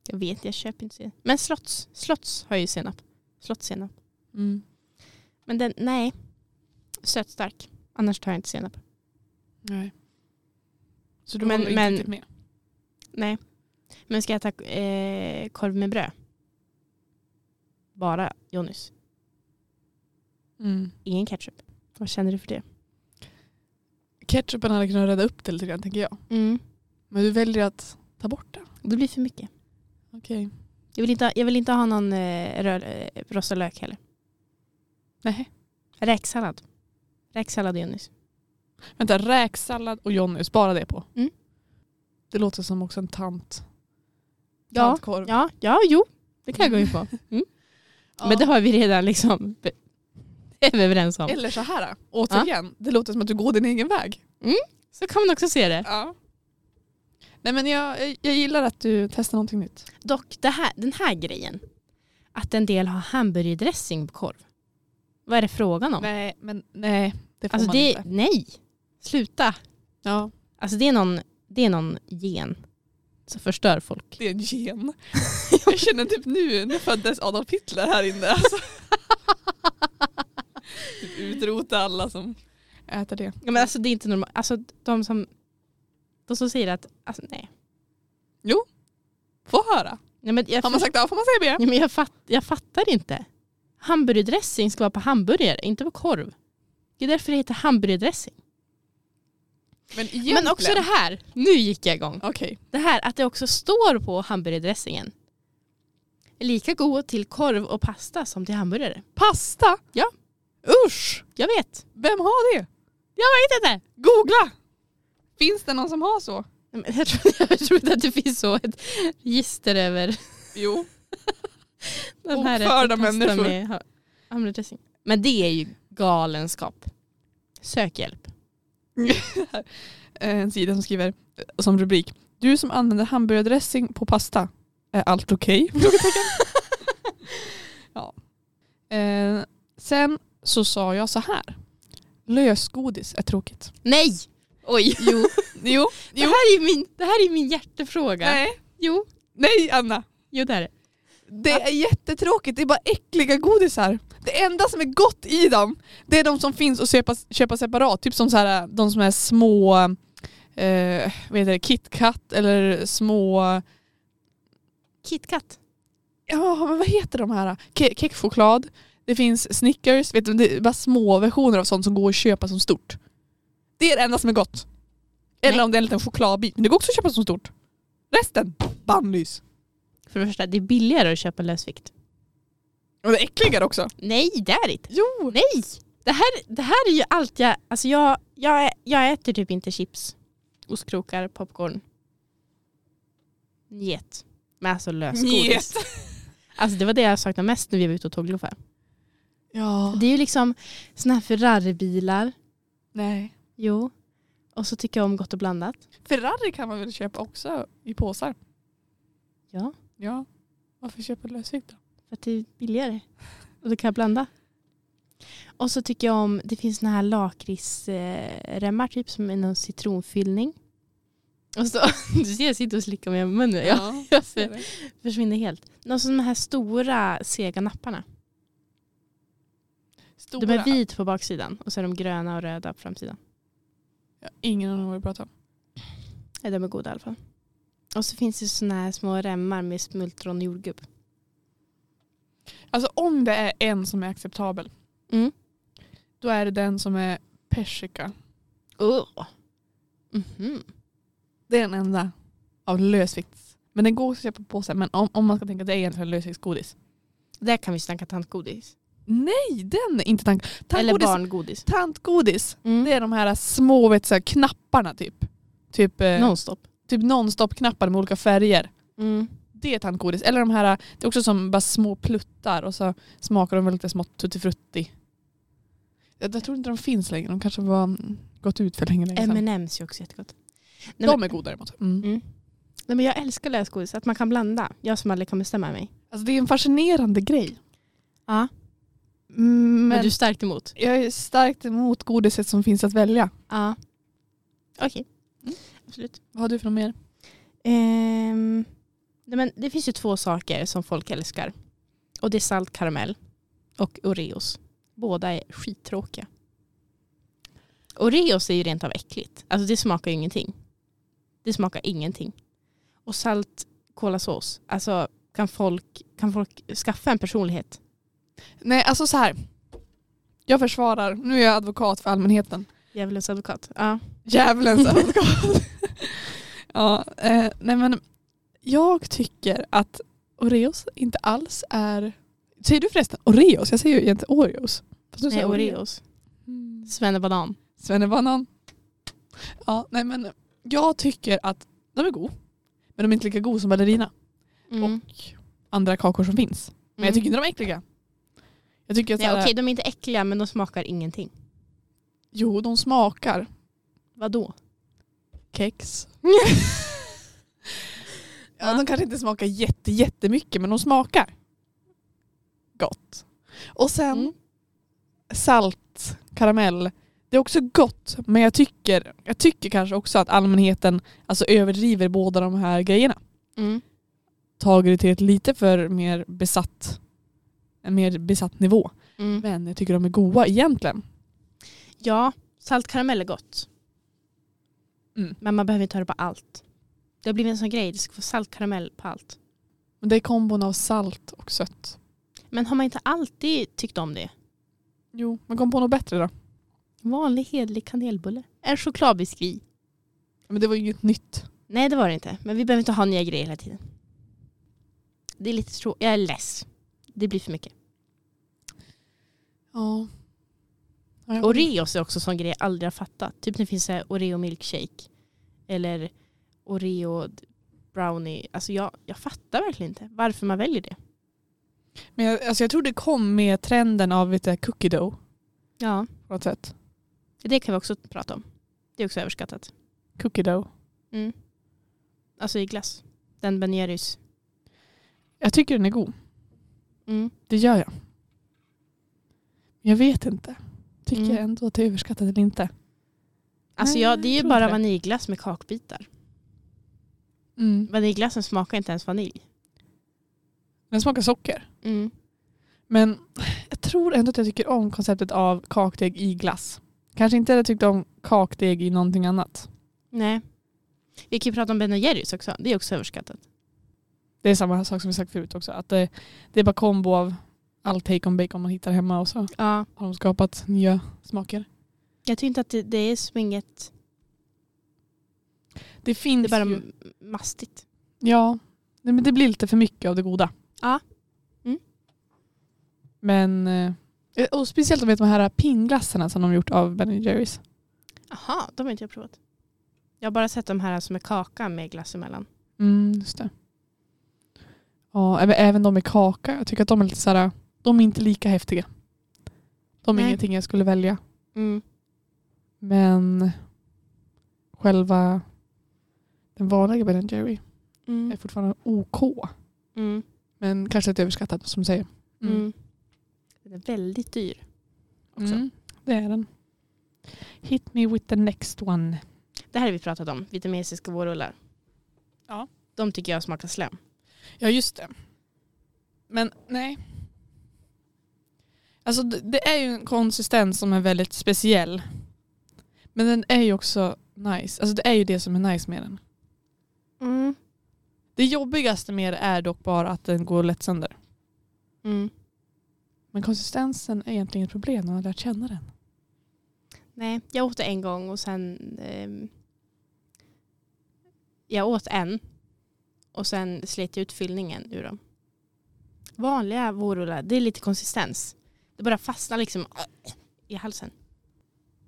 S2: Jag vet, jag köper inte senap. Men slotts, slotts har ju senap. Slottssenap.
S1: Mm.
S2: Men den, nej. Sötstark. Annars tar jag inte senap.
S1: Nej. Så du
S2: Men-
S1: håller inte
S2: men-
S1: riktigt med?
S2: Nej. Men ska jag ta eh, korv med bröd? Bara Johnnys.
S1: Mm.
S2: Ingen ketchup. Vad känner du för det?
S1: Ketchupen hade kunnat rädda upp det lite grann tänker jag.
S2: Mm.
S1: Men du väljer att ta bort det.
S2: Det blir för mycket.
S1: Okej.
S2: Jag vill inte, ha- jag vill inte ha någon eh, rör, eh, rostad lök heller.
S1: Nej.
S2: Räksallad. Räksallad och Johnnys.
S1: Vänta, räksallad och Johnnys, bara det på.
S2: Mm.
S1: Det låter som också en tant.
S2: Ja.
S1: Tantkorv.
S2: Ja, ja, jo. Det kan jag gå in på. Mm.
S1: Ja.
S2: Men det har vi redan liksom be- är vi överens om.
S1: Eller så här, återigen, det låter som att du går din egen väg.
S2: Så kan man också se det.
S1: Ja. Nej men jag, jag gillar att du testar någonting nytt.
S2: Dock det här, den här grejen. Att en del har hamburgerdressing på korv. Vad är det frågan om?
S1: Nej, men nej. Det får
S2: alltså
S1: man
S2: det,
S1: inte.
S2: nej. Sluta.
S1: Ja,
S2: Alltså det är någon, det är någon gen som förstör folk.
S1: det är en gen. jag känner typ nu, nu föddes Adolf Hitler här inne. Alltså. typ utrota alla som äter det.
S2: Ja, men alltså det är inte normalt. Alltså de som, de som säger att, alltså nej.
S1: Få höra.
S2: nej men jag,
S1: Har man sagt A får man säga B.
S2: nej, men jag, fatt, jag fattar inte. Hamburgardressing ska vara på hamburgare, inte på korv. Det är därför det heter hamburgardressing.
S1: Men egentligen.
S2: Men också det här, nu gick jag igång.
S1: Okej.
S2: Det här att det också står på hamburgardressingen. Lika god till korv och pasta som till hamburgare.
S1: Pasta?
S2: Ja.
S1: Usch!
S2: Jag vet.
S1: Vem har det?
S2: Jag vet inte.
S1: Googla! Finns det någon som har så?
S2: Nej, men Jag trodde, jag trodde att det finns så ett register över
S1: Jo.
S2: den här
S1: Oförda
S2: rätten pasta
S1: människor.
S2: med ha- hamburgardressing. Men det är ju galenskap. Sök hjälp.
S1: Eh, En sida som skriver eh, som rubrik. Du som använder hamburgardressing på pasta. Är allt okej? Frågetecken. ja. eh, sen så sa jag så här. Lösgodis är tråkigt.
S2: Nej! Oj.
S1: Jo. jo.
S2: Det här är min, det här är min hjärtefråga.
S1: Nej.
S2: Jo,
S1: Nej Anna.
S2: jo det är det.
S1: Det är jättetråkigt, det är bara äckliga godisar. Det enda som är gott i dem, det är de som finns att köpa, köpa separat. Typ som så här, de som är små, eh, vad heter det, KitKat eller små,
S2: KitKat.
S1: ja men vad heter de här? Ke- Kexchoklad, det finns Snickers, vet du, det är bara små versioner av sånt som går att köpa som stort. Det är det enda som är gott. Eller
S2: Nej.
S1: om det är en liten chokladbit, men det går också att köpa som stort. Resten, bannlys.
S2: För det första, det är billigare att köpa lösvikt.
S1: Och det är äckligare också.
S2: Nej, det är det inte.
S1: Jo!
S2: Nej! Det här, det här är ju allt jag... Alltså jag, jag, ä- jag äter typ inte chips, ostkrokar, popcorn. Njet. Men alltså lösgodis. Alltså det var det jag saknade mest när vi var ute och tågluffade.
S1: Ja.
S2: Det är ju liksom såna här Ferraribilar.
S1: Nej.
S2: Jo. Och så tycker jag om gott och blandat.
S1: Ferrari kan man väl köpa också i påsar?
S2: Ja.
S1: Ja. Varför köpa lösvikt då?
S2: För att det är billigare. Och då kan jag blanda. Och så tycker jag om, det finns såna här lakritsremmar typ som är någon citronfyllning. Och så, du ser jag sitter och slickar med munnen. Jag
S1: jag
S2: ser försvinner helt. Någon sån här stora sega napparna.
S1: Stora.
S2: De är vit på baksidan och så är de gröna och röda på framsidan.
S1: Ja, ingen aning vad du pratar om.
S2: Ja, de är goda i alla fall. Och så finns det såna här små remmar med smultron och jordgubb.
S1: Alltså om det är en som är acceptabel,
S2: Mm.
S1: då är det den som är persika.
S2: Oh. Mhm.
S1: Det är den enda av lösvikts. Men den går också att köpa på påsar. Men om, om man ska tänka att det är egentligen lösviktsgodis.
S2: Där kan vi snacka tantgodis.
S1: Nej, den är inte tant...
S2: Eller
S1: Tantgodis,
S2: barngodis.
S1: tantgodis
S2: Mm.
S1: det är de här små vet, så här, knapparna typ. Typ, eh,
S2: Nonstop.
S1: typ nonstop-knappar med olika färger.
S2: Mm.
S1: Det är tandgodis. Eller de här, det är också som bara små pluttar och så smakar de väl lite smått tuttifrutti. Jag, jag tror inte de finns längre, de kanske var mm, gått ut för länge, länge sedan.
S2: M&M's är också jättegott. Äh, Nej,
S1: de
S2: men,
S1: är goda däremot. Mm.
S2: Mm. nej, men jag älskar lösgodis, att man kan blanda. Jag som aldrig kan bestämma mig.
S1: Alltså, det är en fascinerande grej.
S2: Ja.
S1: Mm,
S2: Men,
S1: Men
S2: du är starkt emot?
S1: jag är starkt emot godiset som finns att välja.
S2: Ja. Okej. Absolut.
S1: Vad har du för något mer?
S2: Ehm, nej men det finns ju två saker som folk älskar. Och det är salt karamell och Oreos. Båda är skittråkiga. Oreos är ju rent av äckligt. Alltså det smakar ju ingenting. Det smakar ingenting. Och salt kolasås. Alltså kan folk, kan folk skaffa en personlighet?
S1: Nej, alltså så här. Jag försvarar, nu är jag advokat för allmänheten.
S2: Djävulens advokat. Ja.
S1: Djävulens advokat. ja, eh, nej men jag tycker att Oreos inte alls är... Säger du förresten Oreos? Jag säger ju egentligen Oreos. Fast du
S2: Nej,
S1: säger Oreo.
S2: Oreos.
S1: Mm.
S2: Svennebanan.
S1: Svennebanan. Ja, nej men jag tycker att de är goda. Men de är inte lika goda som ballerina
S2: Mm.
S1: och andra kakor som finns. Men jag tycker inte de är äckliga. Jag tycker att
S2: Nej,
S1: såhär,
S2: okej, de är inte äckliga men de smakar ingenting.
S1: jo de smakar
S2: Vadå?
S1: kex. ja, de kanske inte smakar jätte, jättemycket men de smakar gott. Och sen
S2: Mm.
S1: salt, karamell. Det är också gott men jag tycker, jag tycker kanske också att allmänheten alltså, överdriver båda de här grejerna.
S2: Mm.
S1: Tager det till ett lite för mer besatt, en mer besatt nivå.
S2: Mm.
S1: Men jag tycker de är goda egentligen.
S2: Ja, saltkaramell är gott.
S1: Mm.
S2: Men man behöver inte ha det på allt. Det har blivit en sån grej, det ska få saltkaramell på allt.
S1: Men det är kombon av salt och sött.
S2: Men har man inte alltid tyckt om det?
S1: Jo, men kom på något bättre då.
S2: Vanlig hedlig kanelbulle. En chokladbiskvi.
S1: Men det var ju inget nytt.
S2: Nej det var det inte. Men vi behöver inte ha nya grejer hela tiden. Det är lite tråkigt. Jag är less. Det blir för mycket.
S1: Ja. Ja,
S2: Mm.
S1: jag-
S2: Oreos är också en sån grej jag aldrig har fattat. Typ det finns så här Oreo milkshake. Eller Oreo d- brownie. Alltså jag, jag fattar verkligen inte varför man väljer det.
S1: Men jag, alltså jag tror det kom med trenden av lite cookie dough
S2: Ja.
S1: på något sätt.
S2: Det kan vi också prata om. Det är också överskattat.
S1: Cookie dough.
S2: Mm. Alltså i glass. Den Ben Jerrys.
S1: Jag tycker den är god.
S2: Mm.
S1: Det gör jag. Jag vet inte. Tycker
S2: Mm.
S1: jag ändå att det är överskattat eller inte.
S2: Alltså
S1: Nej,
S2: ja,
S1: jag
S2: det är ju
S1: tror
S2: bara
S1: inte det.
S2: vaniljglass med kakbitar.
S1: Mm.
S2: Vaniljglassen smakar inte ens vanilj.
S1: Den smakar socker.
S2: Mm.
S1: Men jag tror ändå att jag tycker om konceptet av kakdeg i glass. Kanske inte hade tyckt om kakdeg i någonting annat.
S2: Nej. Vi kan ju prata om Ben Jerrys också. Det är också överskattat.
S1: Det är samma sak som vi sagt förut också. Att det, det är bara kombo av allt bacon bacon man hittar hemma och så
S2: Ja.
S1: har de skapat nya smaker.
S2: Jag tycker inte att det, det är som inget...
S1: Det
S2: Det
S1: finns
S2: är bara
S1: ju.
S2: m- mastigt.
S1: Ja, nej, men det blir lite för mycket av det goda.
S2: Ja. Mm.
S1: Men, eh, och speciellt om de här pingglassarna som de gjort av Ben Jerrys.
S2: Aha, de har inte jag provat. Jag har bara sett de här som är kaka med glass emellan.
S1: Mm, just det. Ja, även- även de med kaka. Jag tycker att de är lite såhär, de är inte lika häftiga. De är
S2: Nej.
S1: ingenting jag skulle välja.
S2: Mm.
S1: Men själva den vanliga Ben Jerry är
S2: Mm.
S1: fortfarande OK.
S2: Mm.
S1: Men kanske lite överskattat som du säger. Mm.
S2: Mm. Den är väldigt dyr. också.
S1: Mm, det är den. Hit me with the next one.
S2: Det här har vi pratat om, vietnamesiska vårrullar.
S1: Ja.
S2: De tycker jag smakar slem.
S1: Ja just det. Men nej. Alltså det, det är ju en konsistens som är väldigt speciell. Men den är ju också nice. Alltså det är ju det som är nice med den.
S2: Mm.
S1: Det jobbigaste med det är dock bara att den går lätt sönder.
S2: Mm.
S1: Men konsistensen är egentligen ett problem när man har lärt känna den.
S2: Nej, jag åt det en gång och sen... ehm, jag åt en och sen slet jag ut fyllningen ur dem. Vanliga vårrullar, det är lite konsistens. Det bara fastnar liksom i halsen.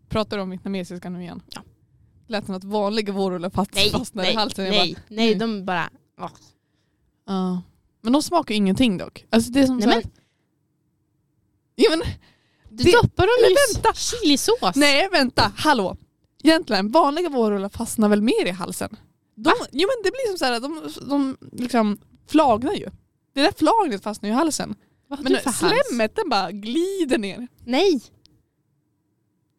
S1: Pratar du om vietnamesiska nu igen?
S2: Ja.
S1: Lät som att vanliga vårrullar fast- fastnar i halsen. Jag bara, mm.
S2: nej, nej, de bara... ah.
S1: Ja. Men de smakar ingenting dock. Alltså det är som
S2: Nej,
S1: så här...
S2: men-
S1: ja, men,
S2: Du
S1: Det-
S2: doppar dem i
S1: vänta.
S2: s- chilisås.
S1: Nej vänta, hallå. Egentligen, vanliga vårrullar fastnar väl mer i halsen? De, jo men det blir som så här, de, de liksom flagnar ju. Det där flagnet fastnar ju i halsen.
S2: Vad har
S1: Men
S2: du för hals?
S1: slemmet den bara glider ner.
S2: Nej,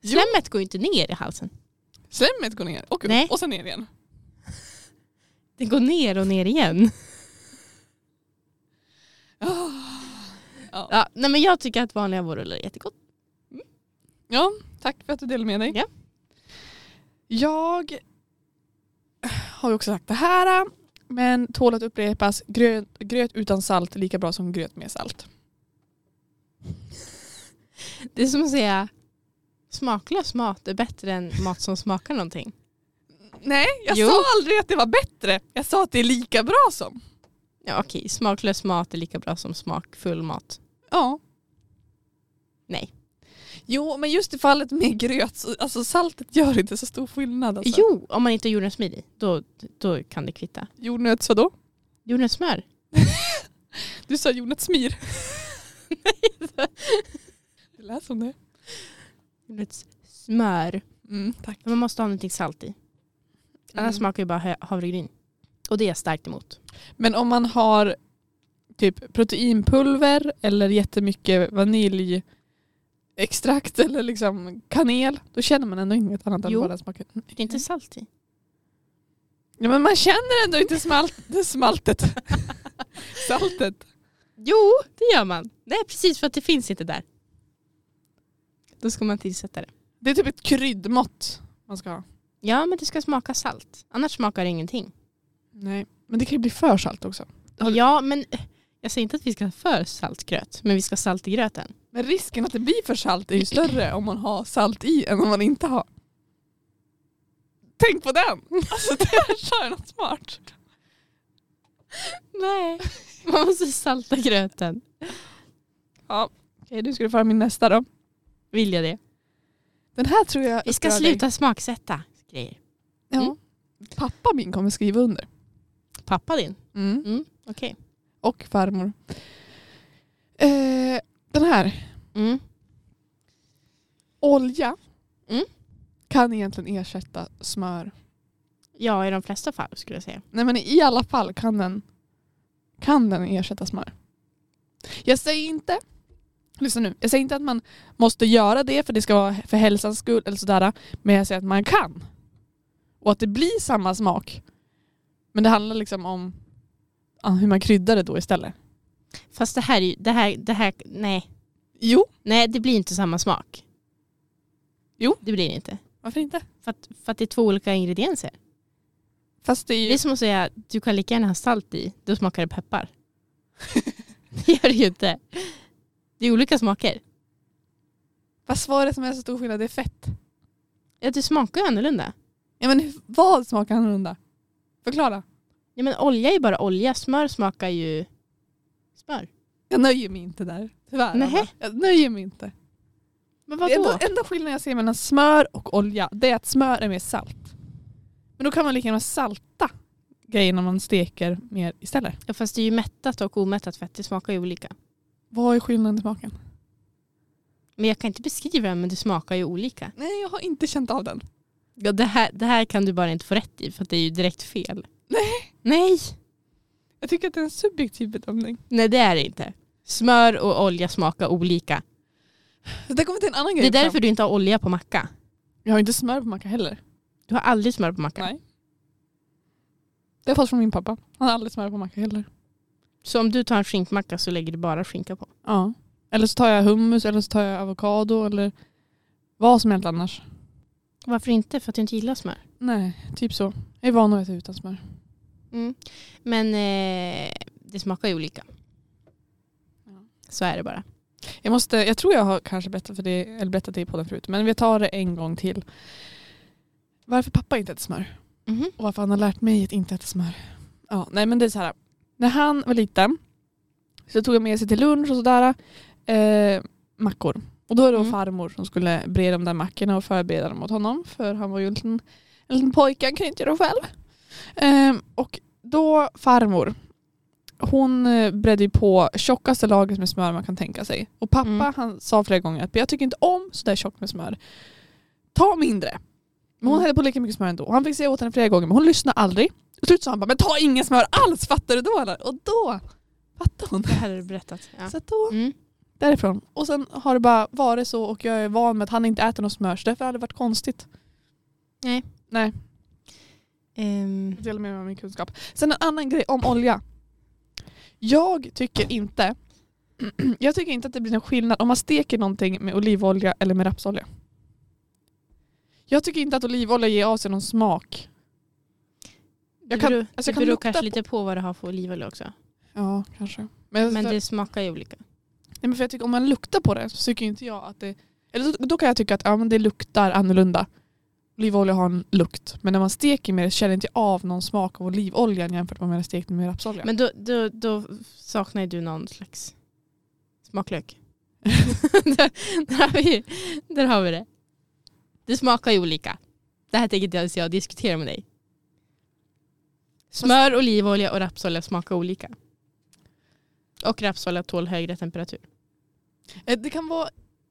S1: Jo,
S2: slemmet går ju inte ner i halsen.
S1: slemmet går ner och upp
S2: Nej.
S1: och sen ner igen.
S2: Det går ner och ner igen.
S1: Ja.
S2: Ja, nej men jag tycker att vanliga vårrullar är jättegott.
S1: Ja, tack för att du delade med dig.
S2: Ja.
S1: Jag har ju också sagt det här, men tål att upprepas. Gröt, gröt utan salt är lika bra som gröt med salt.
S2: Det är som att säga smaklös mat är bättre än mat som smakar någonting.
S1: Nej, jag
S2: Jo.
S1: sa aldrig att det var bättre. Jag sa att det är lika bra som.
S2: Ja, okej, smaklös mat är lika bra som smakfull mat.
S1: Ja.
S2: Nej.
S1: Jo, men just i fallet med gröt, så- alltså saltet gör inte så stor skillnad. Alltså.
S2: Jo, om man inte har jordnötssmid i, då, då kan det kvitta.
S1: Jordnöts vadå?
S2: Jordnötssmör?
S1: Du sa jordnötssmir. det lät som det.
S2: Jordnötssmör.
S1: Mm, tack. Mm.
S2: Men Man måste ha någonting salt i. Annars smakar ju bara hö- havregryn. Och det är jag starkt emot.
S1: Men om man har typ proteinpulver eller jättemycket vaniljextrakt eller liksom kanel, då känner man ändå inget annat än
S2: Jo.
S1: bara den smaken.
S2: Det är inte salt i.
S1: Ja, men man känner ändå inte smalt, det smaltet. Saltet.
S2: Jo, det gör man. Nej, precis för att det finns inte där. Då ska man tillsätta det.
S1: Det är typ ett kryddmått man ska ha.
S2: Ja, men det ska smaka salt. Annars smakar det ingenting.
S1: Nej. Men det kan ju bli för salt också. Har du-
S2: Ja, men eh, Jag säger inte att vi ska ha för saltgröt, men vi ska ha salt i gröten.
S1: Men risken att det blir för salt är ju större om man har salt i än om man inte har. Tänk på den! Alltså det här är något smart.
S2: Nej, man måste salta gröten.
S1: Okej, du skulle få höra min nästa då.
S2: Vill jag det?
S1: Den här tror jag
S2: Vi ska
S1: upprör dig.
S2: sluta smaksätta grejer.
S1: Ja.
S2: Mm.
S1: Pappa min kommer skriva under.
S2: Pappa din?
S1: Mm.
S2: Okej.
S1: Och farmor. Eh, den här.
S2: Mm.
S1: Olja
S2: Mm.
S1: kan egentligen ersätta smör.
S2: Ja, i de flesta fall skulle jag säga.
S1: Nej men i alla fall kan den, kan den ersätta smör. Jag säger inte, lyssna nu, jag säger inte att man måste göra det för det ska vara för hälsans skull eller sådär. Men jag säger att man kan. Och att det blir samma smak. Men det handlar liksom om ja, hur man kryddar det då istället.
S2: Fast det här är ju, det här, det här, nej.
S1: Jo,
S2: Nej, det blir inte samma smak.
S1: Jo.
S2: Det blir det inte.
S1: varför inte?
S2: För att, för att det är två olika ingredienser.
S1: Fast det är
S2: Det
S1: ju...
S2: är som att säga att du kan lika gärna ha salt i, då smakar det peppar. det gör det ju inte. Det är olika smaker.
S1: Fast vad är det som är så stor skillnad? Det är fett.
S2: Ja, det smakar ju annorlunda.
S1: Ja men hur- vad smakar annorlunda? Förklara.
S2: Ja, men olja är ju bara olja. Smör smakar ju smör.
S1: Jag nöjer mig inte där. Tyvärr.
S2: Nähä.
S1: Anna. Jag nöjer mig inte.
S2: Men
S1: Det enda, enda skillnaden jag ser mellan smör och olja det är att smör är mer salt. Men då kan man lika gärna salta grejerna man steker mer istället.
S2: Ja, fast det är ju mättat och omättat fett. Det smakar ju olika.
S1: Vad är skillnaden i smaken?
S2: Men jag kan inte beskriva det, men det smakar ju olika.
S1: Nej, jag har inte känt av den.
S2: Ja, det, här, det här kan du bara inte få rätt i, för att det är ju direkt fel. Nej. Nej,
S1: Jag tycker att det är en subjektiv bedömning.
S2: Nej det är det inte. Smör och olja smakar olika.
S1: Så där kommer till en annan
S2: Det
S1: grej.
S2: är därför du inte har olja på macka.
S1: Jag har inte smör på macka heller.
S2: Du har aldrig smör på macka.
S1: Nej. Det har jag fått från min pappa. Han har aldrig smör på macka heller.
S2: Så om du tar en skinkmacka så lägger du bara skinka på.
S1: Ja. Eller så tar jag hummus eller så tar jag avokado eller vad som helst annars.
S2: Varför inte? För att du inte gillar smör.
S1: Nej, typ så. Jag är van att äta utan smör.
S2: Mm. Men eh, det smakar ju olika.
S1: Ja.
S2: Så är det bara.
S1: Jag, måste, jag tror jag har kanske berättat, för det, eller berättat det i podden förut, men vi tar det en gång till. Varför pappa inte äter smör
S2: Mhm.
S1: och varför han har lärt mig att inte äta smör. Ja, nej men det är så här. När han var liten så tog han med sig till lunch och sådär eh, mackor. Och då var det
S2: Mm.
S1: farmor som skulle bre de där mackorna och förbereda dem åt honom för han var ju en liten, en liten pojke, han kan ju inte göra det själv. Ehm, och då farmor, hon eh, bredde ju på tjockaste laget med smör man kan tänka sig. Och pappa
S2: Mm.
S1: han sa flera gånger att jag tycker inte om sådär tjockt med smör. Ta mindre. Men hon
S2: Mm.
S1: hällde på lika mycket smör ändå. Och han fick säga åt henne flera gånger men hon lyssnade aldrig. Och slut sa han bara men ta ingen smör alls fattar du då eller? Och då fattade hon.
S2: Det här har du berättat. Ja.
S1: Så att då
S2: Mm.
S1: därifrån. Och sen har det bara varit så och jag är van med att han inte äter något smör så därför har det varit konstigt.
S2: Nej.
S1: Nej,
S2: Ehm,
S1: jag delar med mig av min kunskap. Sen en annan grej om olja. Jag tycker inte jag tycker inte att det blir någon skillnad om man steker någonting med olivolja eller med rapsolja. Jag tycker inte att olivolja ger av sig någon smak.
S2: det
S1: Jag kan,
S2: beror,
S1: alltså jag
S2: det
S1: kan
S2: beror
S1: lukta
S2: kanske
S1: på-
S2: lite på vad du Alltså har för olivolja också.
S1: Ja, kanske. Men,
S2: Men
S1: så-
S2: det smakar ju olika.
S1: Nej, men för jag tycker om man luktar på det så tycker inte jag att det... Eller då, då kan jag tycka att ja, men det luktar annorlunda. Olivolja har en lukt. Men när man steker med det känner inte jag av någon smak av olivoljan jämfört med om jag hade stekt med rapsolja.
S2: Men då, då, då saknar ju du någon slags smaklök. där, där, har vi, där har vi det. Det smakar ju olika. Det här tänker inte ens jag diskutera med dig. Smör, olivolja och rapsolja smakar olika. Och rapsolja tål högre temperatur.
S1: Eh, Det kan vara...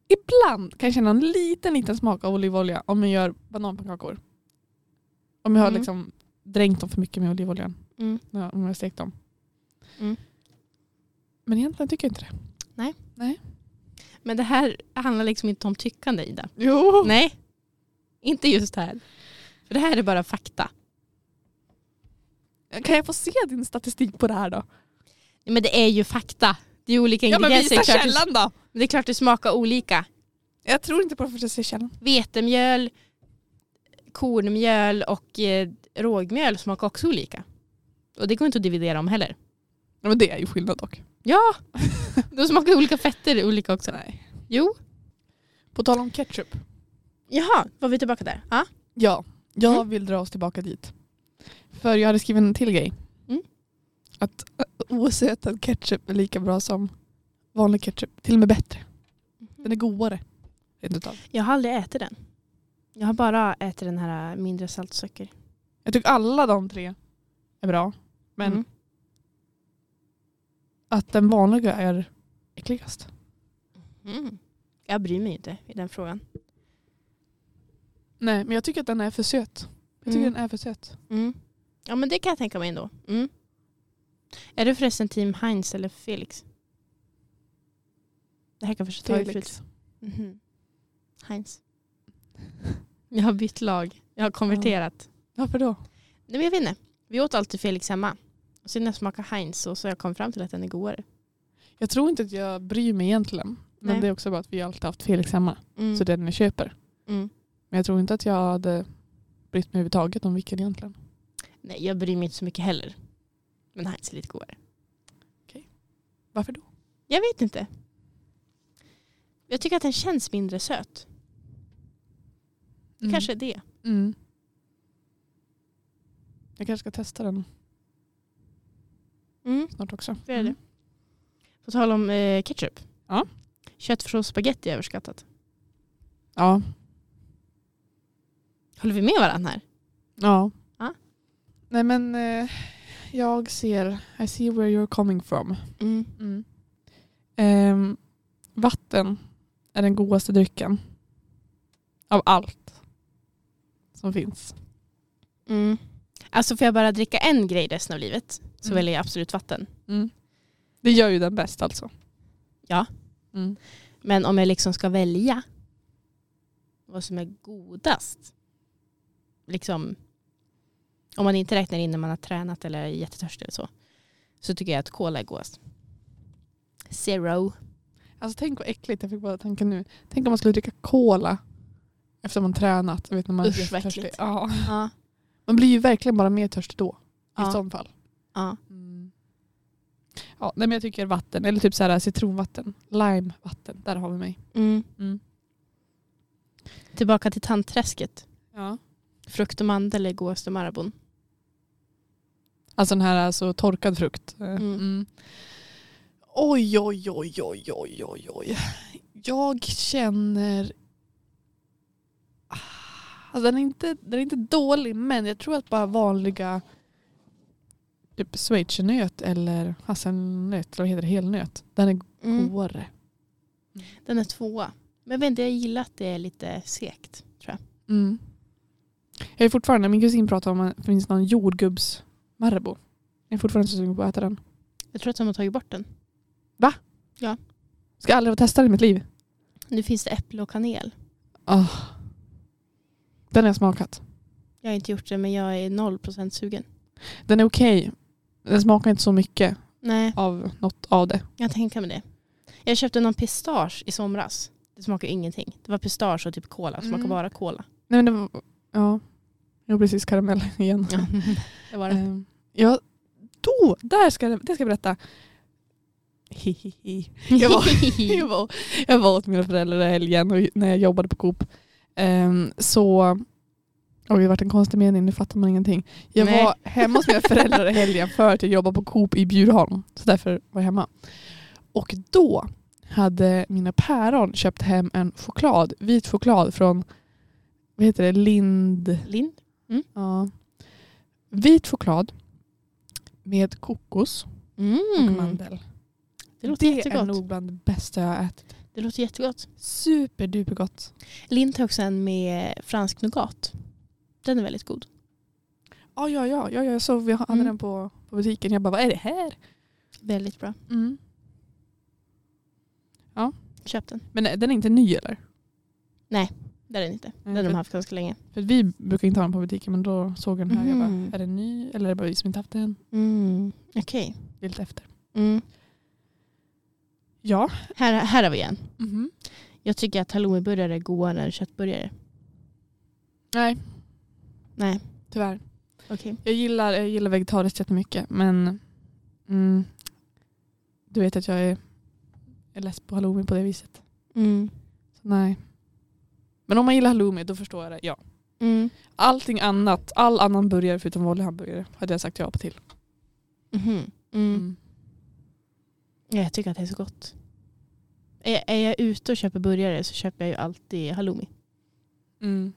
S1: Ibland kan jag känna en liten, liten smak av olivolja om jag gör bananpannkakor. Om jag har
S2: Mm.
S1: liksom dränkt dem för mycket med olivoljan.
S2: Mm.
S1: Ja, om jag har stekt dem.
S2: Mm.
S1: Men egentligen tycker jag inte det.
S2: Men det här handlar liksom inte om tyckande Ida.
S1: Jo!
S2: Nej, inte just här. För det här är bara fakta.
S1: Kan jag få se din statistik på det här då?
S2: Men det är ju fakta. Det är olika
S1: Ja men
S2: ingredienser.
S1: visa
S2: Det är klart det-
S1: källan då!
S2: det är klart det smakar olika.
S1: Jag tror inte på det förrän jag ser källan.
S2: vetemjöl, kornmjöl och eh, rågmjöl smakar också olika. Och det går inte att dividera om heller.
S1: Ja, men det är ju skillnad dock.
S2: Ja! De smakar olika fetter olika också.
S1: Nej.
S2: Jo.
S1: På tal om ketchup.
S2: Jaha, var vi tillbaka där? Ja.
S1: Ja, jag
S2: Mm.
S1: vill dra oss tillbaka dit. För jag hade skrivit en till grej.
S2: Mm.
S1: Att eh, ö, osötad ketchup är lika bra som vanlig ketchup. Till och med bättre. Den
S2: Mm-hmm.
S1: är godare. Rent utav.
S2: Jag har aldrig ätit den. Jag har bara ätit den här eh, mindre saltsocker.
S1: Jag tycker alla de tre är bra. Men
S2: Mm.
S1: att den vanliga är äckligast.
S2: Mm. Jag bryr mig inte i den frågan.
S1: Nej, men jag tycker att den är för söt. Jag tycker
S2: Mm.
S1: den är för söt.
S2: Ja men det kan jag tänka mig ändå. Mm. Är du förresten team Heinz eller Felix? Det här kan jag förstå.
S1: Felix.
S2: mm Heinz. Jag har bytt lag. Jag har konverterat.
S1: Varför då?
S2: Nej men jag vet inte. Vi åt alltid Felix hemma. Och sen när jag smakade Heinz och så jag kom fram till att den är godare.
S1: Jag tror inte att jag bryr mig egentligen. Men
S2: Nej.
S1: det är också bara att vi alltid haft Felix hemma.
S2: Mm.
S1: Så det är den jag köper.
S2: Mm.
S1: Men jag tror inte att jag hade brytt mig överhuvudtaget om vilken egentligen.
S2: Nej jag bryr mig inte så mycket heller. Men Heinz är lite godare.
S1: Varför då?
S2: Jag vet inte. Jag tycker att den känns mindre söt. Kanske är det.
S1: Mm. Jag kanske ska testa den
S2: Mm.
S1: snart också.
S2: Det är det. På tal om eh, ketchup.
S1: Ja.
S2: Köttfärssås och spagetti är överskattat.
S1: Ja.
S2: Håller vi med varandra här?
S1: ja.
S2: Ja.
S1: Nej men eh, jag ser, I see where you're coming from.
S2: Mm.
S1: Ehm, vatten är den godaste drycken av allt som finns.
S2: Mm. Alltså får jag bara dricka en grej resten av livet så
S1: Mm.
S2: väljer jag absolut vatten.
S1: Det Mm. gör ju den bäst alltså.
S2: Ja.
S1: Mm.
S2: Men om jag liksom ska välja vad som är godast. Liksom om man inte räknar in när man har tränat eller är jättetörstig eller så. Så tycker jag att cola är godast. Zero.
S1: Alltså tänk vad äckligt, jag fick bara tanken nu. Tänk om man skulle dricka cola efter man tränat. Jag vet, när man, är
S2: Usch, vad
S1: jättetörstig.
S2: äckligt.
S1: ja.
S2: Ja.
S1: man blir ju verkligen bara mer törstig då. I
S2: Ja.
S1: sån fall.
S2: ja.
S1: Mm. Ja, nej, men jag tycker vatten, eller typ så här citronvatten, limevatten, där har vi mig.
S2: Mm.
S1: Mm.
S2: Tillbaka till tandträsket.
S1: Ja.
S2: Frukt och mandel är godast och Marabon.
S1: Alltså den här alltså, torkad frukt. Eh,
S2: Mm.
S1: Mm. Oj, oj, oj, oj, oj, oj, oj. Jag känner... Ah, Alltså, den, är inte, den är inte dålig, men jag tror att bara vanliga typ schweizernöt eller hasselnöt, eller vad heter det, helnöt, den är
S2: Mm.
S1: godare.
S2: Den är tvåa. Men jag vet inte, jag gillar att det är lite sekt. Tror jag.
S1: Mm. Jag är fortfarande, min kusin pratar om att det finns någon jordgubbs Marabou. Jag är fortfarande så sugen på att äta den.
S2: jag tror att de har tagit bort den.
S1: Ska aldrig få testa den i mitt liv.
S2: Nu finns det äpple och kanel.
S1: Oh. Den har jag smakat.
S2: Jag har inte gjort det men jag är 0% sugen.
S1: Den är okej. Den smakar inte så mycket
S2: Nej,
S1: av något av det.
S2: jag tänker med det. Jag köpte någon pistage i somras. Det smakar ingenting. Det var pistage och typ cola. Det smakar
S1: Mm.
S2: bara cola.
S1: Nej men det var, ja. Jag har precis karamell igen.
S2: Ja, det var det.
S1: Eh, ja, då, där ska, det det ska jag berätta. Hihihi. Jag var, jag, var, jag var åt mina föräldrar i helgen och när jag jobbade på Coop. Ehm, så... Oj, det vart en konstig mening, nu fattar man ingenting. Jag
S2: Nej.
S1: var hemma hos mina föräldrar i helgen för att jag jobbade på Coop i Bjurholm. Så därför var jag hemma. Och då hade mina päron köpt hem en choklad, vit choklad från vad heter det, Lind...
S2: Lind?
S1: Ja. Vit choklad med kokos och
S2: Mm.
S1: mandel.
S2: Det låter
S1: det är
S2: jättegott.
S1: nog bland det bästa jag har ätit.
S2: Det låter jättegott.
S1: Superdupergott.
S2: Lind har också en med fransk nougat. Den är väldigt god.
S1: Ja, ja, ja, ja, ja. Så vi hade
S2: Mm.
S1: den på, på butiken. Jag bara, vad är det här?
S2: Väldigt bra.
S1: Mm.
S2: Köp den.
S1: Men eh, den är inte ny eller?
S2: Där är den inte. Den
S1: Mm,
S2: har de
S1: för-
S2: haft ganska länge.
S1: För att vi brukar inte ha den på butiken men då såg jag den här. Jag
S2: Mhm.
S1: bara, är den ny eller är det bara vi som inte haft den?
S2: Mm. Okej.
S1: Det är lite efter.
S2: Mm.
S1: Ja.
S2: Här, här har vi en.
S1: Mhm.
S2: Jag tycker att halloumiburgare är godare än köttburgare.
S1: Nej,
S2: Nej,
S1: tyvärr.
S2: okej.
S1: Jag gillar, jag gillar vegetariskt jättemycket men mm, Du vet att jag är, är less på halloumi på det viset.
S2: Mm.
S1: Så nej. Men om man gillar halloumi då förstår jag det. Ja.
S2: Mm.
S1: Allting annat, all annan burgare förutom vanlig hamburgare hade jag sagt ja på till.
S2: Mhm. Mm. Ja, jag tycker att det är så gott. Är, är jag ute och köper burgare så köper jag ju alltid halloumi.
S1: Mm.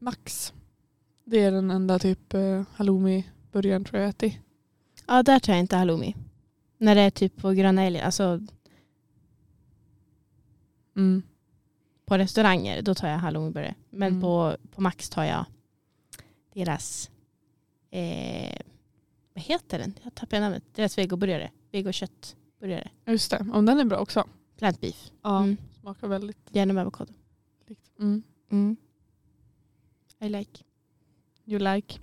S1: Max. Det är den enda typ eh, halloumi-burgaren tror jag jag ätit.
S2: Ja, där tar jag inte halloumi. När det är typ på Gröna Älgen, alltså
S1: Mm.
S2: på restauranger, då tar jag halloumiburgare. Men
S1: Mm.
S2: på, på Max tar jag deras, eh, vad heter den? Jag tappade namnet. Deras vegoburgare, vegoköttburgare.
S1: Ja, Just det, om den är bra också.
S2: Plant beef,
S1: Ja,
S2: Mm.
S1: smakar väldigt
S2: gärna med avokado.
S1: likt. Mm.
S2: I like.
S1: You like.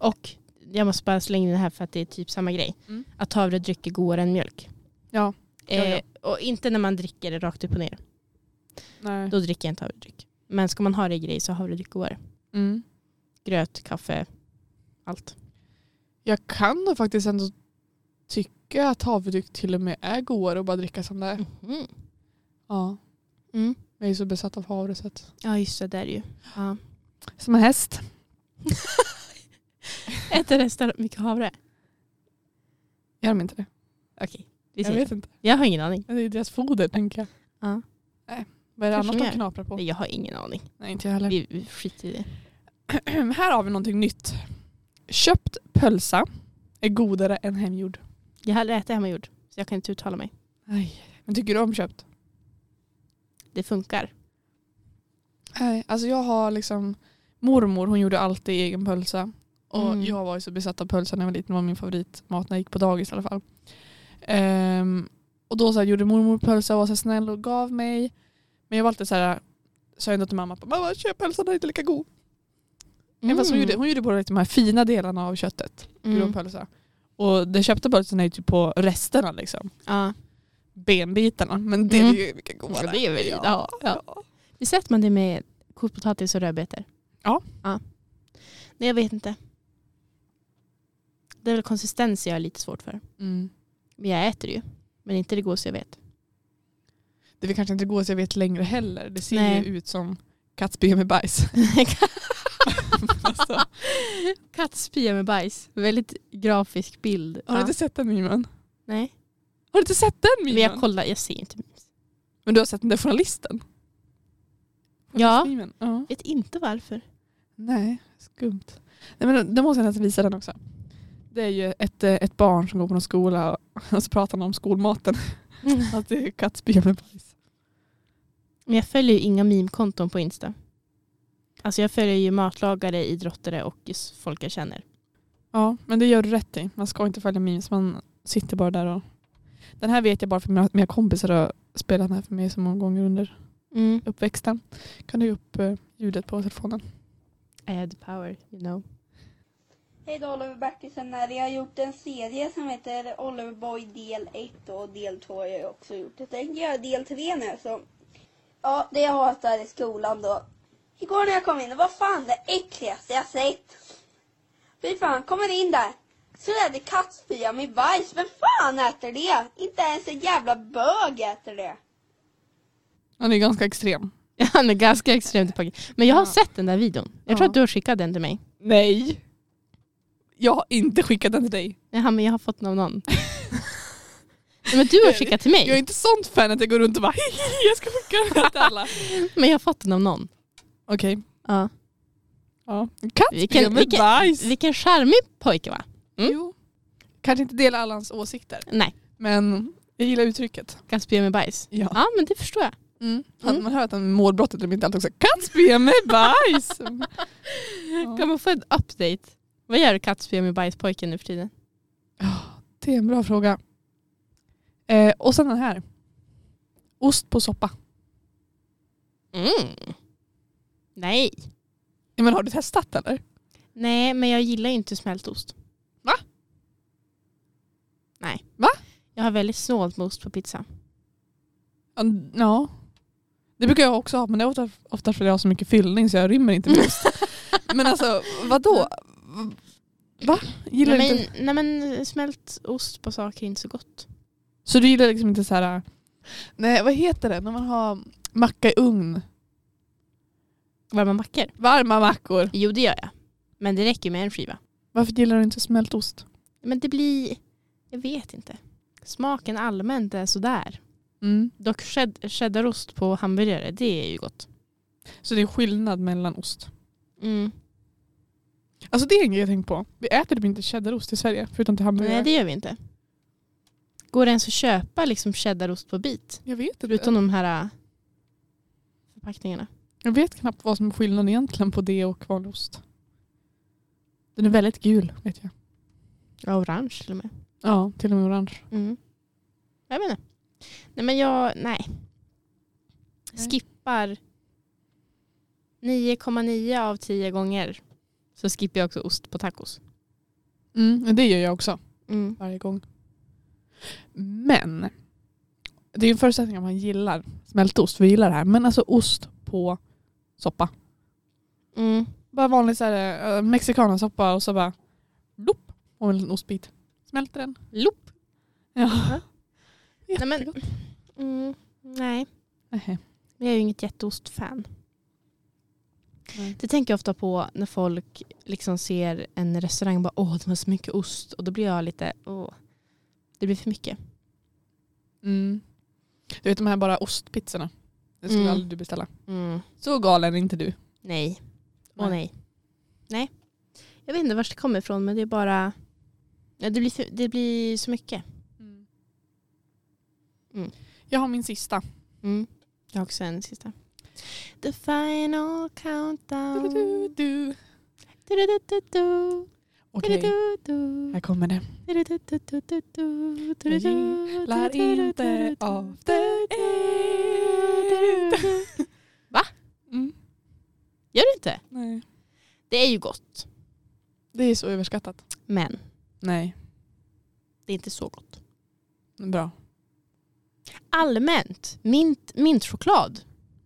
S2: Och jag måste bara slänga in det här för att det är typ samma grej.
S1: Mm.
S2: Att havredryck är godare än mjölk.
S1: Ja. Ja, ja.
S2: Eh, och inte när man dricker det rakt upp och ner.
S1: Nej.
S2: Då dricker jag inte havredryck. Men ska man ha det i grej så har havredryck godare.
S1: Mm.
S2: Gröt, kaffe, allt.
S1: Jag kan då faktiskt ändå tycka att havredryck till och med är godare att bara dricka som det är.
S2: Mhm.
S1: Ja.
S2: Mm.
S1: Jag är ju så besatt av havre så att...
S2: Ja just det, där är det ju. Ja.
S1: Som en häst.
S2: Äter resten mycket havre?
S1: Gör de inte det?
S2: Okej, vi
S1: Jag
S2: säger
S1: vet
S2: så.
S1: inte.
S2: Jag har ingen aning.
S1: Det är deras foder tänker jag.
S2: Ja.
S1: Nej. Vad är det
S2: Kanske
S1: annars
S2: de
S1: de
S2: gör.
S1: knaprar på?
S2: Nej, jag har ingen aning.
S1: Nej inte jag heller.
S2: Vi, vi skiter i det.
S1: Här har vi någonting nytt. Köpt pölsa är godare än hemgjord.
S2: Jag har aldrig ätit hemmagjord. Så jag kan inte uttala mig.
S1: Aj. Men tycker du om köpt?
S2: Det funkar.
S1: Nej, alltså jag har liksom mormor hon gjorde alltid egen pölsa. Och
S2: Mm.
S1: jag var ju så besatt av pölsa när jag var liten. Det var min favoritmat när jag gick på dagis i alla fall. Ehm, och då så här, gjorde mormor pölsa och var så här snäll och gav mig. Men jag var alltid så här, sa ändå till mamma, mamma köp pölsan, den är inte lika god. Mm. Fast hon, gjorde, hon gjorde både de här fina delarna av köttet,
S2: Mm.
S1: grovpölsa. Och den köpta pölsan är ju typ på resterna liksom.
S2: Ja.
S1: benbitarna. Men det
S2: Mm.
S1: är ju mycket godare.
S2: Ja, det är väl-
S1: ja.
S2: ja. Visst äter man det med kokt potatis och rödbetor?
S1: Ja.
S2: ja. Nej, jag vet inte. Det är väl konsistens jag har lite svårt för.
S1: Mm.
S2: Men jag äter det ju. Men inte det godaste jag vet.
S1: Det vill kanske inte gå så jag vet längre heller. Det ser
S2: Nej.
S1: ju ut som kattspy med bajs. alltså,
S2: Kattspya med bajs. Väldigt grafisk bild.
S1: har du
S2: Ja.
S1: inte sett den memen?
S2: Nej.
S1: Har du inte sett den
S2: Men
S1: memen?
S2: jag kollar, jag ser inte.
S1: Men du har sett den där journalisten?
S2: Ja.
S1: Journalistmemen? ja.
S2: Vet inte varför.
S1: Nej, skumt. Nej, men då måste jag nästan visa den också. Det är ju ett, eh, ett barn som går på någon skola och, och så pratar han om skolmaten. Att det är kattspy med bajs.
S2: Men jag följer ju inga meme-konton på Insta. Alltså jag följer ju matlagare, idrottare och s- folk jag känner.
S1: Ja, men det gör du rätt i. Man ska inte följa memes. Man sitter bara där och... Den här vet jag bara för mina, mina kompisar har spelat den här för mig så många gånger under Mm. uppväxten. Kan du ge upp eh, ljudet på telefonen?
S2: I had the power, you know.
S5: Hej då Oliver Bertilsson här. Jag har gjort en serie som heter Oliver Boy del 1 och del 2 har jag också gjort. Jag tänker göra del 3 nu så. Ja, det jag hatar i skolan då. Igår när jag kom in, det var fan det äckligaste jag sett. Fy fan, kommer in där. Så är det kattspya med bajs. Vem fan äter det? Inte ens en jävla bög äter det.
S1: Han är ganska extrem.
S2: Han är ganska extremt packad. Men jag har
S1: Ja.
S2: sett den där videon. Jag tror
S1: Ja.
S2: att du har skickat den till mig.
S1: Nej! Jag har inte skickat den till dig.
S2: Jaha, men jag har fått den av någon. Nej, men du har skickat till mig.
S1: Jag är inte sånt fan att jag går runt och bara jag ska skicka den här till alla.
S2: Men jag har fått den av någon.
S1: Okej.
S2: Ja.
S1: Ja.
S2: Vilken-
S1: Kattspya med
S2: vilken-
S1: bajs.
S2: Vilken charmig pojke va? Mm.
S1: Jo. Kanske inte dela alla hans åsikter.
S2: Nej,
S1: Men jag gillar uttrycket.
S2: kattspya med bajs.
S1: Ja.
S2: Ja, men det förstår jag.
S1: Mm. Han, man hör att han målbrottet de inte alltid också kattspya med bajs.
S2: Kan man få en update? Vad gör kattspya med bajspojken nu för tiden?
S1: det är en bra fråga. Eh, och sen den här. Ost på soppa.
S2: Mm. Nej.
S1: Ja, Men har du testat eller?
S2: Nej, men jag gillar ju inte smältost.
S1: Va?
S2: Nej.
S1: Va?
S2: Jag har väldigt snålt med ost på pizza.
S1: Ja, n- Ja. Det brukar jag också ha men det är ofta, ofta för jag har så mycket fyllning så jag rymmer inte med ost. men alltså vadå? Va? Gillar du inte?
S2: nej, men, nej men smält ost på saker är inte så gott.
S1: Så du gillar liksom inte så här... äh, Nej, vad heter det? När man har macka i ugn.
S2: Varma mackor?
S1: Varma mackor.
S2: Jo det gör jag. Men det räcker ju med en skiva.
S1: Varför gillar du inte smält ost?
S2: Men det blir, jag vet inte. Smaken allmänt är sådär.
S1: Mm.
S2: Dock ched- cheddarost på hamburgare, det är ju gott.
S1: Så det är skillnad mellan ost.
S2: Mm.
S1: Alltså det är en grej jag tänkt på. Vi äter typ inte cheddarost i Sverige, förutom till hamburgare.
S2: Nej det gör vi inte. Går det ens att köpa liksom cheddarost på bit?
S1: Jag vet inte.
S2: Förutom de här äh, förpackningarna.
S1: Jag vet knappt vad som är skillnaden egentligen på det och vanlig ost. Den är väldigt gul, vet jag.
S2: Ja, orange till och med.
S1: Ja, till och med orange.
S2: Mm. Jag menar. Nej men jag, nej.
S1: Nej.
S2: Skippar 9,9 av 10 gånger så skippar jag också ost på tacos.
S1: Mm, men det gör jag också
S2: Mm.
S1: varje gång. Men, det är ju en förutsättning att man gillar smältost, vi gillar det här. Men alltså ost på soppa.
S2: Mm.
S1: Bara vanlig så här, eh, mexikanasoppa och så bara lopp, och en liten ostbit. Smälter den.
S2: Loop.
S1: Ja.
S2: Nej, men- Mm. Nej,
S1: Nej.
S2: men jag är ju inget jätteostfan.
S1: Nej.
S2: Det tänker jag ofta på när folk liksom ser en restaurang och bara åh de har så mycket ost och då blir jag lite åh det blir för mycket.
S1: Mm. Du vet de här bara ostpizzorna. Det skulle
S2: Mm.
S1: aldrig du beställa. Så galen är inte du.
S2: Nej. Åh nej. Nej. Jag vet inte var det kommer ifrån men det är bara ja, det, blir för, det blir så mycket. Mm.
S1: Jag har min sista.
S2: Jag har också en sista. The final countdown.
S1: Du, du, du.
S2: Du-du-du-du-du.
S1: Okej,
S2: Du-du-du-du.
S1: här kommer det.
S2: Du-du-du-du-du-du.
S1: Jag gillar inte after eight.
S2: Va?
S1: Mm.
S2: Gör du inte?
S1: Nej.
S2: Det är ju gott.
S1: Det är så överskattat.
S2: Men
S1: Nej.
S2: det är inte så gott.
S1: Bra.
S2: Allmänt, mint, mintchoklad.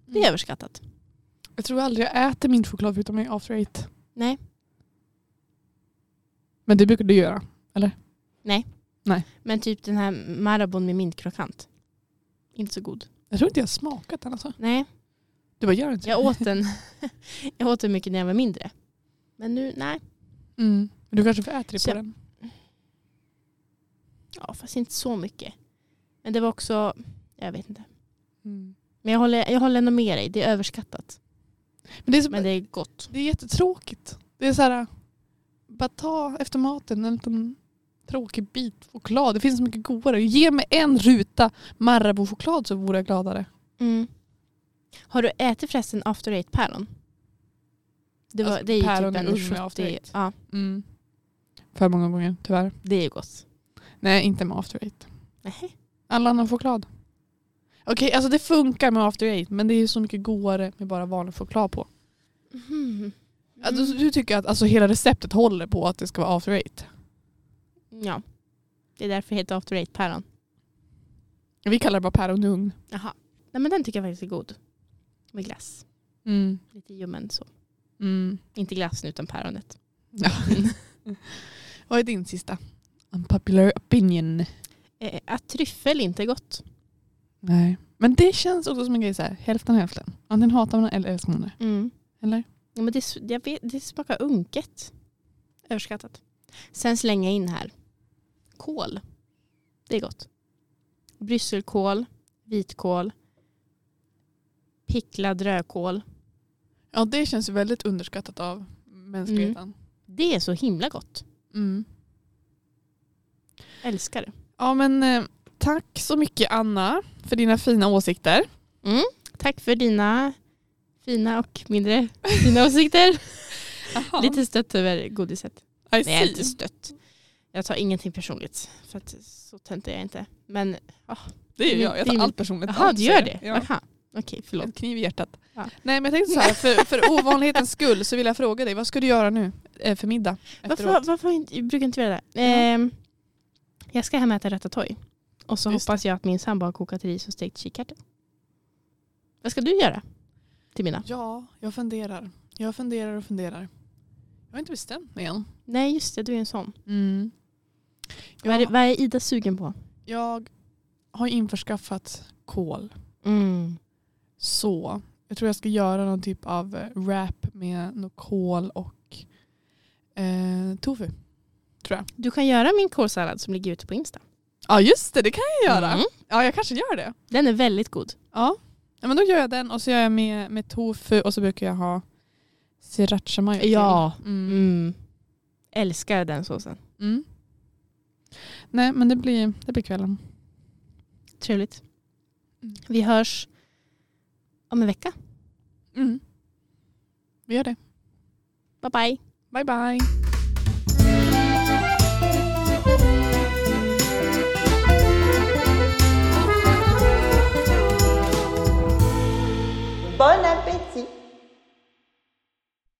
S2: Det är
S1: Mm.
S2: överskattat.
S1: Jag tror aldrig jag äter min choklad förutom i after eight.
S2: Nej.
S1: Men det brukar du göra.
S2: Men typ den här Marabon med mintkrokant. Inte så god.
S1: Jag tror inte jag har smakat den alltså.
S2: Nej,
S1: Du bara gör inte.
S2: jag åt den. jag åt den mycket när jag var mindre. Men nu, nej.
S1: Mm. Men du kanske får äta det
S2: Så
S1: på
S2: jag-
S1: den.
S2: Ja, fast inte så mycket. Men det var också, jag vet inte.
S1: Mm.
S2: Men jag håller, jag håller ändå med dig, det är överskattat.
S1: Men det är så,
S2: Men det är gott.
S1: Det är jättetråkigt. Det är så här, bara ta efter maten en liten tråkig bit choklad. Det finns så mycket godare. Ge mig en ruta Marabou-choklad så vore jag gladare.
S2: Mm. Har du ätit förresten After Eight-päron? Det, var,
S1: Alltså,
S2: det är ju
S1: päron
S2: typ
S1: i
S2: en
S1: ugn med After
S2: 70...
S1: Eight.
S2: Ja,
S1: Mm. För många gånger, tyvärr.
S2: det är ju gott.
S1: Nej, inte med After Eight.
S2: Nej.
S1: All annan choklad. Okej, alltså det funkar med After Eight men det är ju så mycket godare med bara vanlig choklad på.
S2: Mhm.
S1: Alltså, du tycker att alltså, hela receptet håller på att det ska vara After Eight?
S2: Mm, Ja. Det är därför det heter After Eight-päron.
S1: Vi kallar det bara päron i ugn.
S2: Jaha. Nej men den tycker jag faktiskt är god. Med glass. Lite ljummen så.
S1: Mm.
S2: Inte glassen utan päronet.
S1: Vad är din sista? Unpopular opinion.
S2: Eh, att tryffel inte är gott.
S1: Nej. Men det känns också som en grej så här, hälften hälften. Antingen hatar man det eller älskar man det. Eller?
S2: Mm. Ja, men det, s- jag vet, det smakar unket. Överskattat. Sen slänga in här. Kål. Det är gott. Brysselkål, vitkål, picklad rödkål.
S1: Ja det känns väldigt underskattat av mänskligheten.
S2: Det är så himla gott.
S1: Mm.
S2: Älskar det.
S1: Ja men eh, tack så mycket Anna för dina fina åsikter.
S2: Tack för dina fina och mindre fina åsikter.
S1: Lite
S2: Lite stött över godiset.
S1: I
S2: Nej, jag är inte
S1: see.
S2: stött. Jag tar ingenting personligt. För att så töntig är jag inte. Men
S1: Det är ju jag, jag
S2: Det är
S1: tar
S2: min-
S1: allt personligt.
S2: jaha,
S1: Allt,
S2: du
S1: så
S2: gör
S1: jag-
S2: det?
S1: Ja.
S2: Aha. Okej, förlåt.
S1: En kniv i hjärtat.
S2: Ja.
S1: Nej men jag tänkte så här, för, för ovanlighetens skull så vill jag fråga dig, vad ska du göra nu eh, för middag?
S2: Varför,
S1: efteråt?
S2: varför inte, jag brukar inte vi göra det? Ehm, jag ska hem och äta ratatouille. Och så
S1: Just
S2: hoppas jag att min sambo har kokat ris och stekt kikärtor. Vad ska du göra till mina?
S1: Ja, jag funderar. Jag funderar och funderar. Jag Jag har inte bestämt mig än.
S2: Nej just det, du är en sån.
S1: Mm.
S2: Vad, är,
S1: Jag,
S2: vad är Ida sugen på?
S1: jag har införskaffat kol.
S2: Mm.
S1: Så jag tror jag ska göra någon typ av eh, wrap med något kol och eh, tofu.
S2: Du kan göra min kålsallad som ligger ute på Insta.
S1: Ja just det, det kan jag göra.
S2: Mm.
S1: Ja jag kanske gör det.
S2: Den är väldigt god.
S1: Ja. ja men då gör jag den och så gör jag med, med tofu och så brukar jag ha sriracha mayo till.
S2: Ja.
S1: Mm.
S2: Mm. Älskar den såsen.
S1: Mm. Nej men det blir, det blir kvällen.
S2: Trevligt.
S1: Mm.
S2: Vi hörs om en vecka.
S1: Mm. Vi gör det.
S2: Bye bye.
S1: Bye bye.